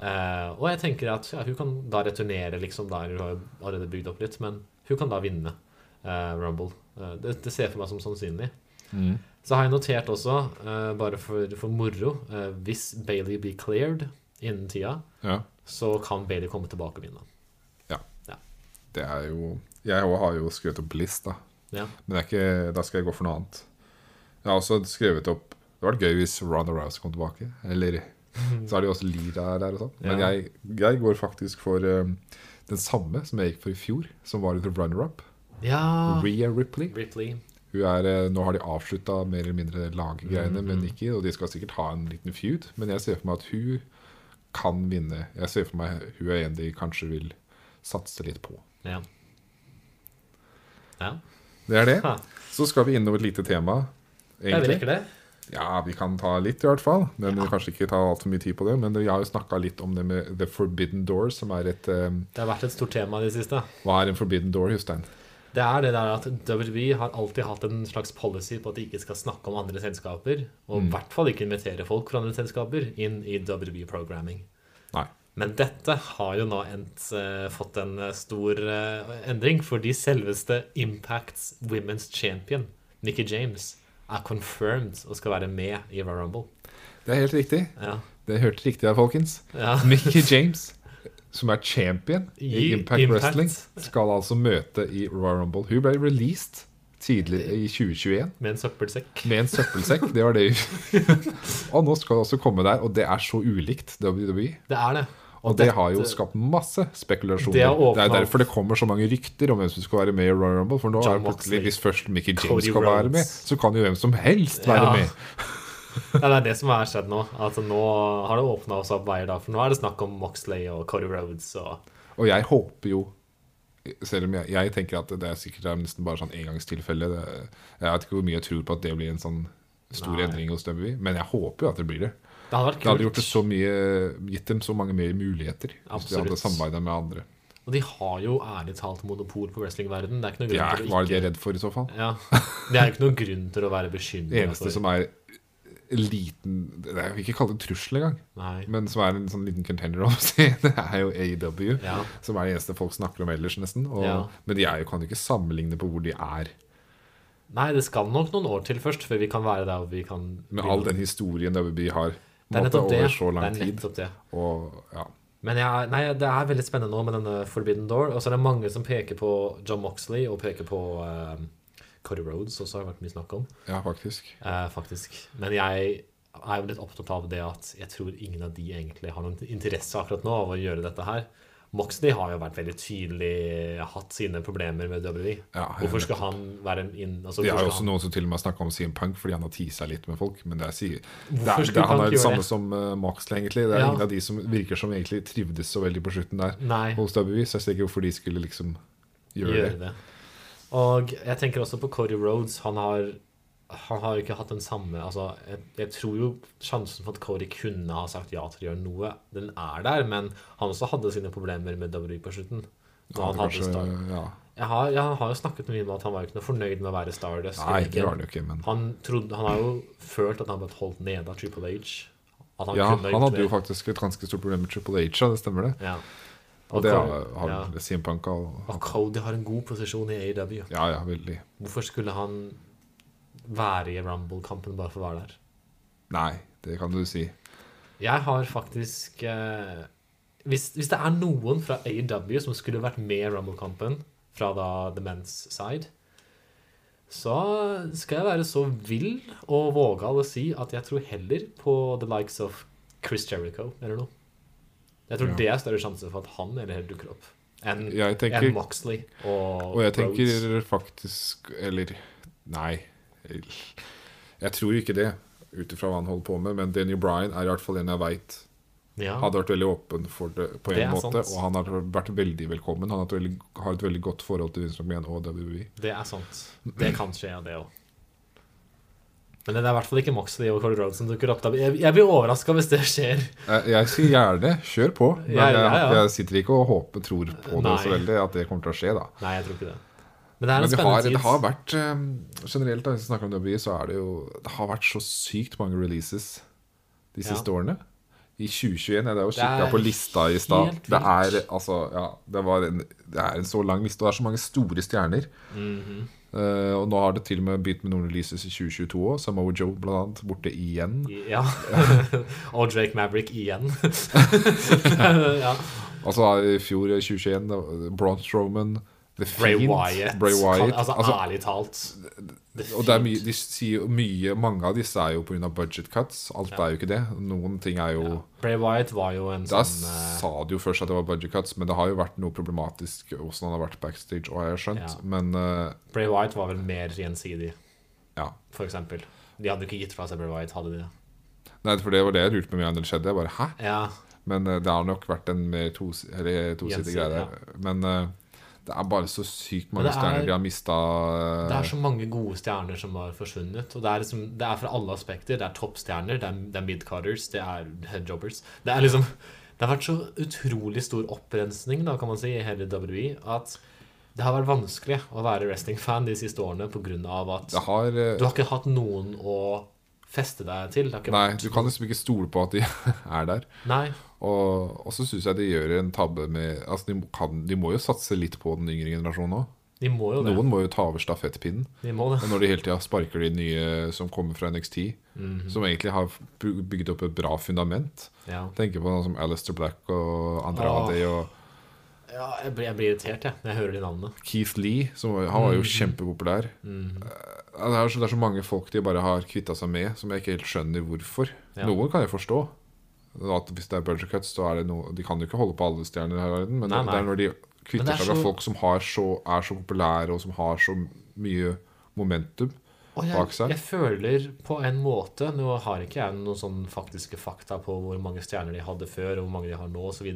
Eh, og jeg tenker at ja, hun kan da returnere, liksom. Da hun har jo allerede bygd opp litt, men hun kan da vinne eh, Rumble. Eh, det, det ser jeg for meg som sannsynlig. Så har jeg notert også, eh, bare for, for moro, eh, hvis Bailey blir cleared innen tida,
Ja.
så kan Bailey komme tilbake og vinne.
Det er jo Jeg òg har jo skrevet opp Bliss, da.
Ja.
Men det er ikke, da skal jeg gå for noe annet. Jeg har også skrevet opp Det hadde vært gøy hvis Ronda Rouse kom tilbake. Eller så er det jo også Lira der og sånn. Men
Ja.
jeg, jeg går faktisk for eh, den samme som jeg gikk for i fjor, som var en runner-up.
ja.
Rhea Ripley.
Ripley.
Hun er, eh, nå har de avslutta mer eller mindre laggreiene med
Mhm.
Nikki, og de skal sikkert ha en liten feud, men jeg ser for meg at hun kan vinne. Jeg ser for meg hun er en de kanskje vil satse litt på.
Ja. ja.
Det er det.
Ha.
Så skal vi innom et lite tema.
Jeg liker det.
Ja, vi kan ta litt, i hvert fall. Men vi kanskje ikke ta altfor mye tid på det. Men vi har jo snakka litt om det med The Forbidden Door, som er et eh,
Det har vært et stort tema i det siste.
Hva er en forbidden door, Jostein?
Det er det der at WWE har alltid hatt en slags policy på at de ikke skal snakke om andre selskaper, og i hvert fall ikke invitere folk fra andre selskaper inn i E WWE-programming.
Nei.
Men dette har jo nå endt, eh, fått en eh, stor eh, endring, fordi selveste Impacts Women's Champion, Nikki James, er confirmed og skal være med i Royal Rumble.
Det er helt riktig.
Ja.
Det hørte riktig her, folkens.
ja.
Mickey James, som er champion i
I
Impact,
Impact.
Wrestling, skal altså møte i Royal Rumble. Hun ble released tidligere i 2021
Med en søppelsekk.
med en søppelsekk. Det var det [laughs] Og nå skal hun også komme der, og det er så ulikt WWE.
Det er det.
Og det har jo
dette-
skapt masse spekulasjoner.
Det
Det
har åpnet
er jo derfor det kommer så mange rykter om hvem som skal være med i Royal Rumble. For nå
John
er det plutselig,
Moxley,
hvis først Mickey James
Cody
skal være
Rhodes.
med, så kan jo hvem som helst være
Ja.
med.
Nei, det er det som har skjedd nå. Altså, nå har det åpna oss opp veier, da. For nå er det snakk om Moxley og Cody Rhodes og
Og jeg håper jo selv om jeg, jeg tenker at det er sikkert er nesten bare sånn engangstilfelle. Det, jeg vet ikke hvor mye jeg tror på at det blir en sånn stor
Nei.
endring hos Dubby, men jeg håper jo at det blir det.
Det hadde vært
Det hadde gjort
kult.
det så mye, gitt dem så mange mer muligheter hvis de hadde
Absolutt.
samarbeida med andre.
og de har jo ærlig talt monopol på wrestlingverden. Det er ikke noe
Ja,
grunn
hva er det de er
til å ikke
redd for i så fall?
ja. Det er jo ikke noe grunn til å være
Det
bekymra.
eneste som er liten det er, Jeg vil ikke kalle det en trussel engang,
Nei.
men som er en sånn liten contender, om å si, [laughs] det er jo AEW.
Ja.
Som er det eneste folk snakker om ellers, nesten. Og,
Ja.
Men de er jo, kan jo ikke sammenligne på hvor de er.
Nei, det skal nok noen år til først før vi kan være der hvor vi kan
Med all den historien WB har
Det er
måttet
nettopp det.
over så lang
Det er
tid.
nettopp det.
Og ja,
Men jeg, nei, det er veldig spennende nå med denne Forbidden Door. Og så er det mange som peker på John Moxley og peker på eh, Cody Rhodes, også har det vært mye snakk om.
ja faktisk.
Eh, faktisk. Men jeg er jo litt opptatt av det at jeg tror ingen av de egentlig har noen interesse akkurat nå av å gjøre dette her. Moxley har jo vært veldig tydelig hatt sine problemer med WWE.
Ja, jeg
Hvorfor skal han være inn altså,
Det er
hvorfor
jo
skal
også noen som til og med har snakka om CM Punk fordi han har teasa litt med folk. Men det er, sier, det
Hvorfor
er, det
skulle
er, han
Punk
er det
gjøre
samme
det?
som eh, Moxley, egentlig. Det er
Ja. Mm.
ingen av de som virker som egentlig trivdes så veldig på slutten der
han Nei,
hos WB, så jeg ser ikke hvorfor de skulle liksom gjøre
gjøre
det.
det. Og jeg tenker også på Cody Rhodes. Han har han har jo ikke hatt den samme altså, jeg, jeg tror jo sjansen for at Cody kunne ha sagt ja til å gjøre noe, den er der, men han også hadde sine problemer med WWE på slutten. Da han hadde
kanskje-
start,
ja.
Jeg har, jeg har jo snakket mye om at han var jo ikke noe fornøyd med å være Stardust.
Nei,
Ikke-
det var han jo ikke, men
han, trodde, han har jo følt at han ble holdt nede av Triple H. At han
Ja,
kunne ha
han
gjort
hadde jo
mer.
faktisk et ganske stort problem med Triple H, ja, det stemmer det.
ja.
Og det har,
Cody-
har
ja.
CM Punk og
Og Cody har en god posisjon i E AEW.
Ja ja, veldig.
Hvorfor skulle han være i Rumble-kampen bare for å være der?
Nei, det kan du si.
Jeg har faktisk eh, hvis, hvis det er noen fra AEW som skulle vært med i Rumble-kampen, fra da The Men's Side, så skal jeg være så vill og vågal å si at jeg tror heller på the likes of Chris Jericho eller noe. Jeg tror
Ja.
det er større sjanse for at han eller heller dukker opp, enn
Jeg tenker
enn Moxley og,
Og jeg tenker
Rhodes.
faktisk Eller nei. Jeg tror ikke det, ut ifra hva han holder på med. Men Danny Bryan er i hvert fall en jeg veit
Ja,
hadde vært veldig åpen for det på
Det
en
er
måte.
sant.
Og han har vært veldig velkommen. Han har et veldig, har et veldig godt forhold til Vincent McMahon og WWE.
det er sant. Det kan skje, ja, det òg. Men det er i hvert fall ikke Moxley og Cole Rhodes som dukker opp. da. Jeg, jeg blir overraska hvis det skjer.
Jeg, jeg sier gjerne kjør på, men
Ja, ja, ja.
Jeg, jeg sitter ikke og håper, tror på det så
Nei.
veldig at det kommer til å skje, da.
Nei, jeg tror ikke det. Men det er
Men
en
det har,
spennende
det har
tid.
vært eh, Generelt, da, hvis vi snakker om WWE, så er det jo Det har vært så sykt mange releases de
Ja.
siste årene. I 2021 ja, Det er jo
er
kikka på lista i stad.
helt
Det er
vilt.
altså Ja, det, var en, det er en så lang liste, og det er så mange store stjerner.
Mhm.
Eh, og nå har det til og med begynt med noen releases i 2022 òg. Samoa Joe blant annet borte igjen.
Ja.
[laughs]
og Drake Maverick igjen. ja.
Altså i fjor, i 2021, det var Braun Strowman, The
Bray
Fiend,
Wyatt.
Bray Wyatt.
Kan, altså,
altså,
ærlig talt. The
Og det er
Fiend.
mye, de sier jo mye Mange av disse er jo pga. budget cuts. Alt er jo ikke det. Noen ting er jo
Bray Wyatt var jo en
Da
sånn eh,
sa de jo først at det var budget cuts, men det har jo vært noe problematisk åssen han har vært backstage, og jeg har skjønt.
Ja.
Men eh,
Bray Wyatt var vel mer gjensidig,
ja.
for eksempel. De hadde jo ikke gitt fra seg Bray Wyatt, hadde de det?
Nei, for det var det jeg lurte på med når det skjedde. Jeg bare hæ?
Ja.
Men eh, det har nok vært en mer tos- eller tosidig
Gjensidig,
greie der. Men eh, Det er bare så sykt mange
det er-
stjerner de har eh, mista.
Det er så mange gode stjerner som har forsvunnet. Og det er, liksom, det er fra alle aspekter. Det er toppstjerner, det er, det er mid-cutters, det er headjobbers. Det er liksom Det har vært så utrolig stor opprensning, da, kan man si, i hele WWE, at det har vært vanskelig å være wrestling-fan de siste årene pga. at
Det har eh,
du har ikke hatt noen å feste deg til. Det har ikke
Nei,
vært-
du kan liksom ikke stole på at de [laughs] er der.
Nei.
Og, og så syns jeg de gjør en tabbe med Altså, de, kan, de må jo satse litt på den yngre generasjonen òg.
De må jo det.
Noen må jo ta over stafettpinnen.
De må det.
Og når de hele tida sparker de nye som kommer fra NXT, som egentlig har bygd opp et bra fundament.
Ja.
Tenker på noen som Alistair Black og Andrade og
ja jeg, blir, jeg blir irritert, jeg, når jeg hører de navnene.
Keith Lee. Som, var- han var
Mm.
jo kjempepopulær. Eh, Det, er så, det er så mange folk de bare har kvitta seg med, som jeg ikke helt skjønner hvorfor.
Ja.
Noen kan jeg forstå. At hvis det er budget cuts, så er det noe De kan jo ikke holde på alle stjerner her i verden, men
Nei,
det er
nei.
når de
Men
kvitter
det er
seg med
så-
folk som har så, er så populære, og som har så mye momentum
Og jeg,
bak seg.
jeg føler på en måte Nå har ikke jeg noen sånn faktiske fakta på hvor mange stjerner de hadde før, og hvor mange de har nå, osv.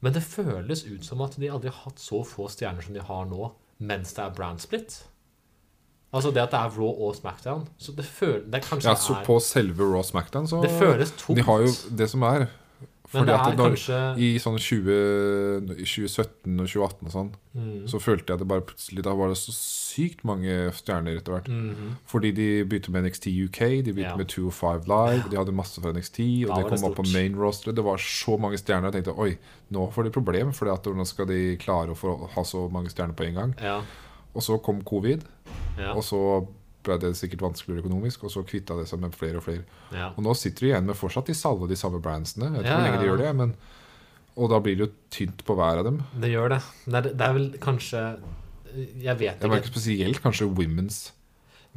Men det føles ut som at de aldri har hatt så få stjerner som de har nå, mens det er brand split. Altså det at det er Raw og Smackdown. Så det føles Det kanskje
Ja, så på selve Raw Smackdown, så
er Det føles tomt.
De har jo det som er.
men
Fordi
det
at
er
når,
kanskje
I sånn 20, i 2017 og 2018 og sånn,
Mm.
så følte jeg at det bare plutselig Da var det så sykt mange stjerner etter hvert. Fordi de begynte med NXT UK, de begynte
Mm-hmm. Ja.
med 205 Live, de hadde masse fra NXT, og
Da
de
var det
kom opp på
stort.
main roster. Det var så mange stjerner. Jeg tenkte oi, nå får de problem, for hvordan skal de klare å få, ha så mange stjerner på en gang?
Ja.
Og så kom covid,
Ja.
og så ble det sikkert vanskeligere økonomisk, og så kvitta det seg med flere og flere.
ja.
Og nå sitter de igjen med fortsatt de samme, de samme brandsene. Jeg vet ikke
Ja,
hvor lenge de
ja.
gjør det, men Og da blir det jo tynt på hver av dem.
Det gjør det. Det er, det er vel kanskje Jeg vet
Jeg merker
ikke.
spesielt kanskje Women's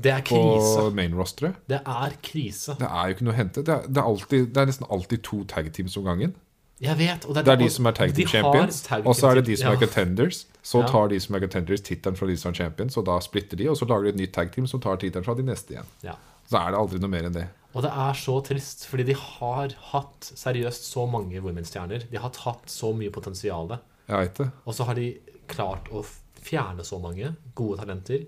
Det er
på
krise.
main rosteret.
Det er krise.
Det er jo ikke noe å hente. Det er, det er, alltid, det er nesten alltid to tag teams om gangen.
Jeg vet. Og
Det er de
og
som er tag
de
team
har
champions,
tag
og så er det de
team-
som er
ja.
contenders. Så
Ja.
tar de som er contenders tittelen fra de som er champions, og da splitter de, og så lager de et nytt tag team som tar tittelen fra de neste igjen.
ja.
Så er det aldri noe mer enn det.
Og det er så trist, fordi de har hatt seriøst så mange women-stjerner. De har hatt så mye potensial.
Jeg veit det.
Og så har de klart å f- fjerne så mange gode talenter.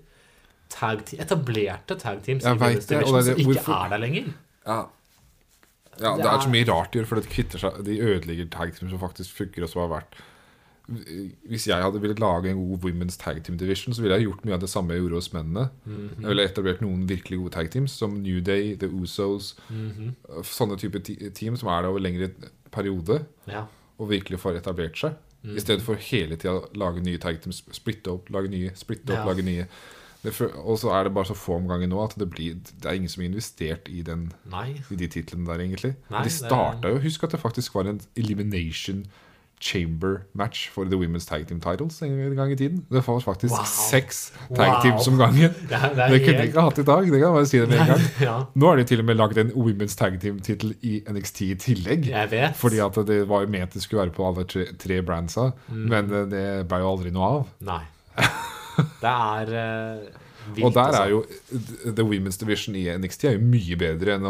Tag te- etablerte tag teams i
Jeg vet
women's
det, og
division
det er
som
det-
ikke
hvorfor-
er der lenger.
Ja. ja det,
Det
er,
er-
så mye rart de gjør, for det kvitter seg De ødelegger tag team som faktisk funker, og som har vært Hvis jeg hadde villet lage en god women's tag team division, så ville jeg gjort mye av det samme jeg gjorde hos mennene.
Mhm.
Jeg ville etablert noen virkelig gode tag teams, som New Day, The Usos
Mhm.
Sånne type ti- team som er der over lengre periode,
Ja.
og virkelig får etablert seg.
Mhm.
I stedet for hele tida å lage nye tag teams, splitte opp, lage nye, splitte opp,
Ja.
lage nye. Det, fø- og så er det bare så få om gangen nå at det, blir, det er ingen som har investert i den [laughs]
Nei.
i de titlene der, egentlig.
Nei,
de
det-
starta jo Husk at det faktisk var en Elimination Chamber-match for The Women's Tag Team Titles en gang i tiden. Det var faktisk
Wow.
seks tag
Wow.
teams om gangen.
Det, er,
Det kunne de
helt-
ikke hatt i dag. Det kan jeg bare si det med en gang.
[laughs] Ja,
Nå har de til og med lagd en Women's Tag Team-tittel i NXT i tillegg.
jeg vet.
Fordi at det var jo ment det skulle være på alle tre, tre brandsa,
Mm.
men eh, det ble jo aldri noe av. [laughs]
Nei. Det er eh, vilt,
Og der
altså.
er jo The Women's Division i NXT er jo mye bedre enn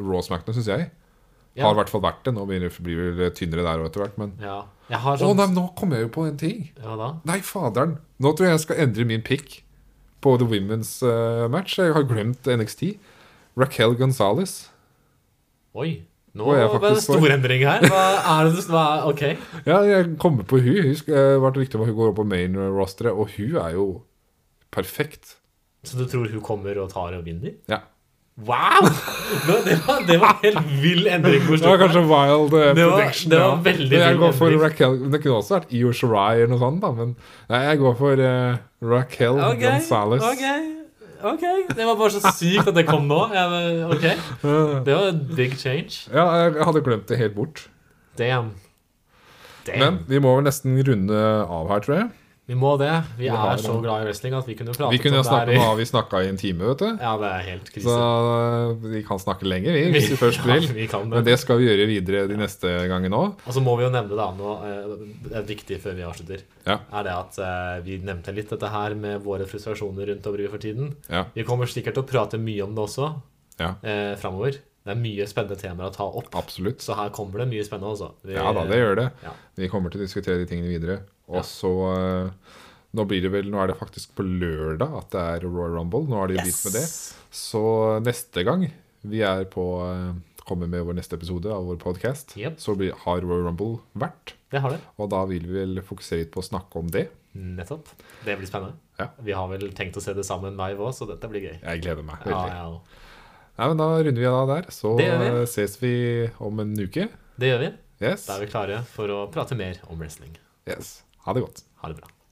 Raw Smackdown, syns jeg.
Ja.
Har i hvert fall vært det. Nå blir det blir det tynnere der og etter hvert, men
ja. Jeg har
Å
sånn
nei, nå kom jeg jo på en ting!
Ja da?
Nei, faderen! Nå tror jeg jeg skal endre min pick på The Women's eh, match. Jeg har glemt NXT. Raquel Gonzales.
Oi. Nå
Nå er jeg
var det
faktisk for-
storendring her. Hva er det du hva, OK.
Ja, jeg kommer på hun. Husk, det vært riktig om at hun går opp på main rosteret, og hun er jo perfekt.
Så du tror hun kommer og tar og vinner?
Ja.
Wow! Nå, Det var, det var en helt vill endring. på
Det var
slutten.
kanskje wild eh,
Det var-
prediction.
det var
ja.
veldig
Men jeg
vill
går for
endring.
Raquel Det kunne også vært Io Shirai eller noe sånt, da, men nei, jeg går for eh, Raquel
Ok,
Gonzales.
ok, ok. Det var bare så sykt at det kom nå. Jeg, ok,
Eh,
Det var en big change.
Ja, jeg hadde glemt det helt bort.
Damn. Damn.
Men vi må vel nesten runde av her, tror jeg.
vi må det. Vi
har
er
det.
så glad i wrestling at vi kunne
Vi
pratet
kunne jo
om
snakke
det
om
her.
hva vi snakka i en time, vet
i-
du.
Ja, det er helt
Så
krise.
eh, vi kan snakke lenger, vi,
[laughs]
hvis vi først vil.
Ja, vi kan
Men
det.
det skal vi gjøre videre de neste gangene òg.
Og så må vi jo nevne da, nå, eh, det er viktig før vi avslutter,
Ja.
er det at eh, vi nevnte litt dette her med våre frustrasjoner rundt WWE for tiden.
Ja.
Vi kommer sikkert til å prate mye om det også
Ja.
eh, framover. Det er mye spennende temaer å ta opp.
Absolutt.
Så her kommer det mye spennende, altså. Vi-
Ja da, det gjør det.
Ja.
Vi kommer til å diskutere de tingene videre.
Ja.
Og så eh, Nå, blir det vel, nå er det faktisk på lørdag at det er Royal Rumble. Nå har de begynt med det. Så eh, neste gang vi er på eh, kommer med vår neste episode av vår podkast,
Yep.
så blir, har Royal Rumble vært.
Det har det.
Og da vil vi vel fokusere litt på å snakke om det.
Nettopp. Det blir spennende.
Ja.
Vi har vel tenkt å se det sammen live òg, så dette blir gøy.
Jeg gleder meg
Ja,
veldig.
ja.
Nei, men Da runder vi av der. Så
Det gjør vi.
eh, ses vi om en uke.
Det gjør vi.
Yes.
Da er vi klare for å prate mer om wrestling.
yes. Ha det godt.
Ha det bra.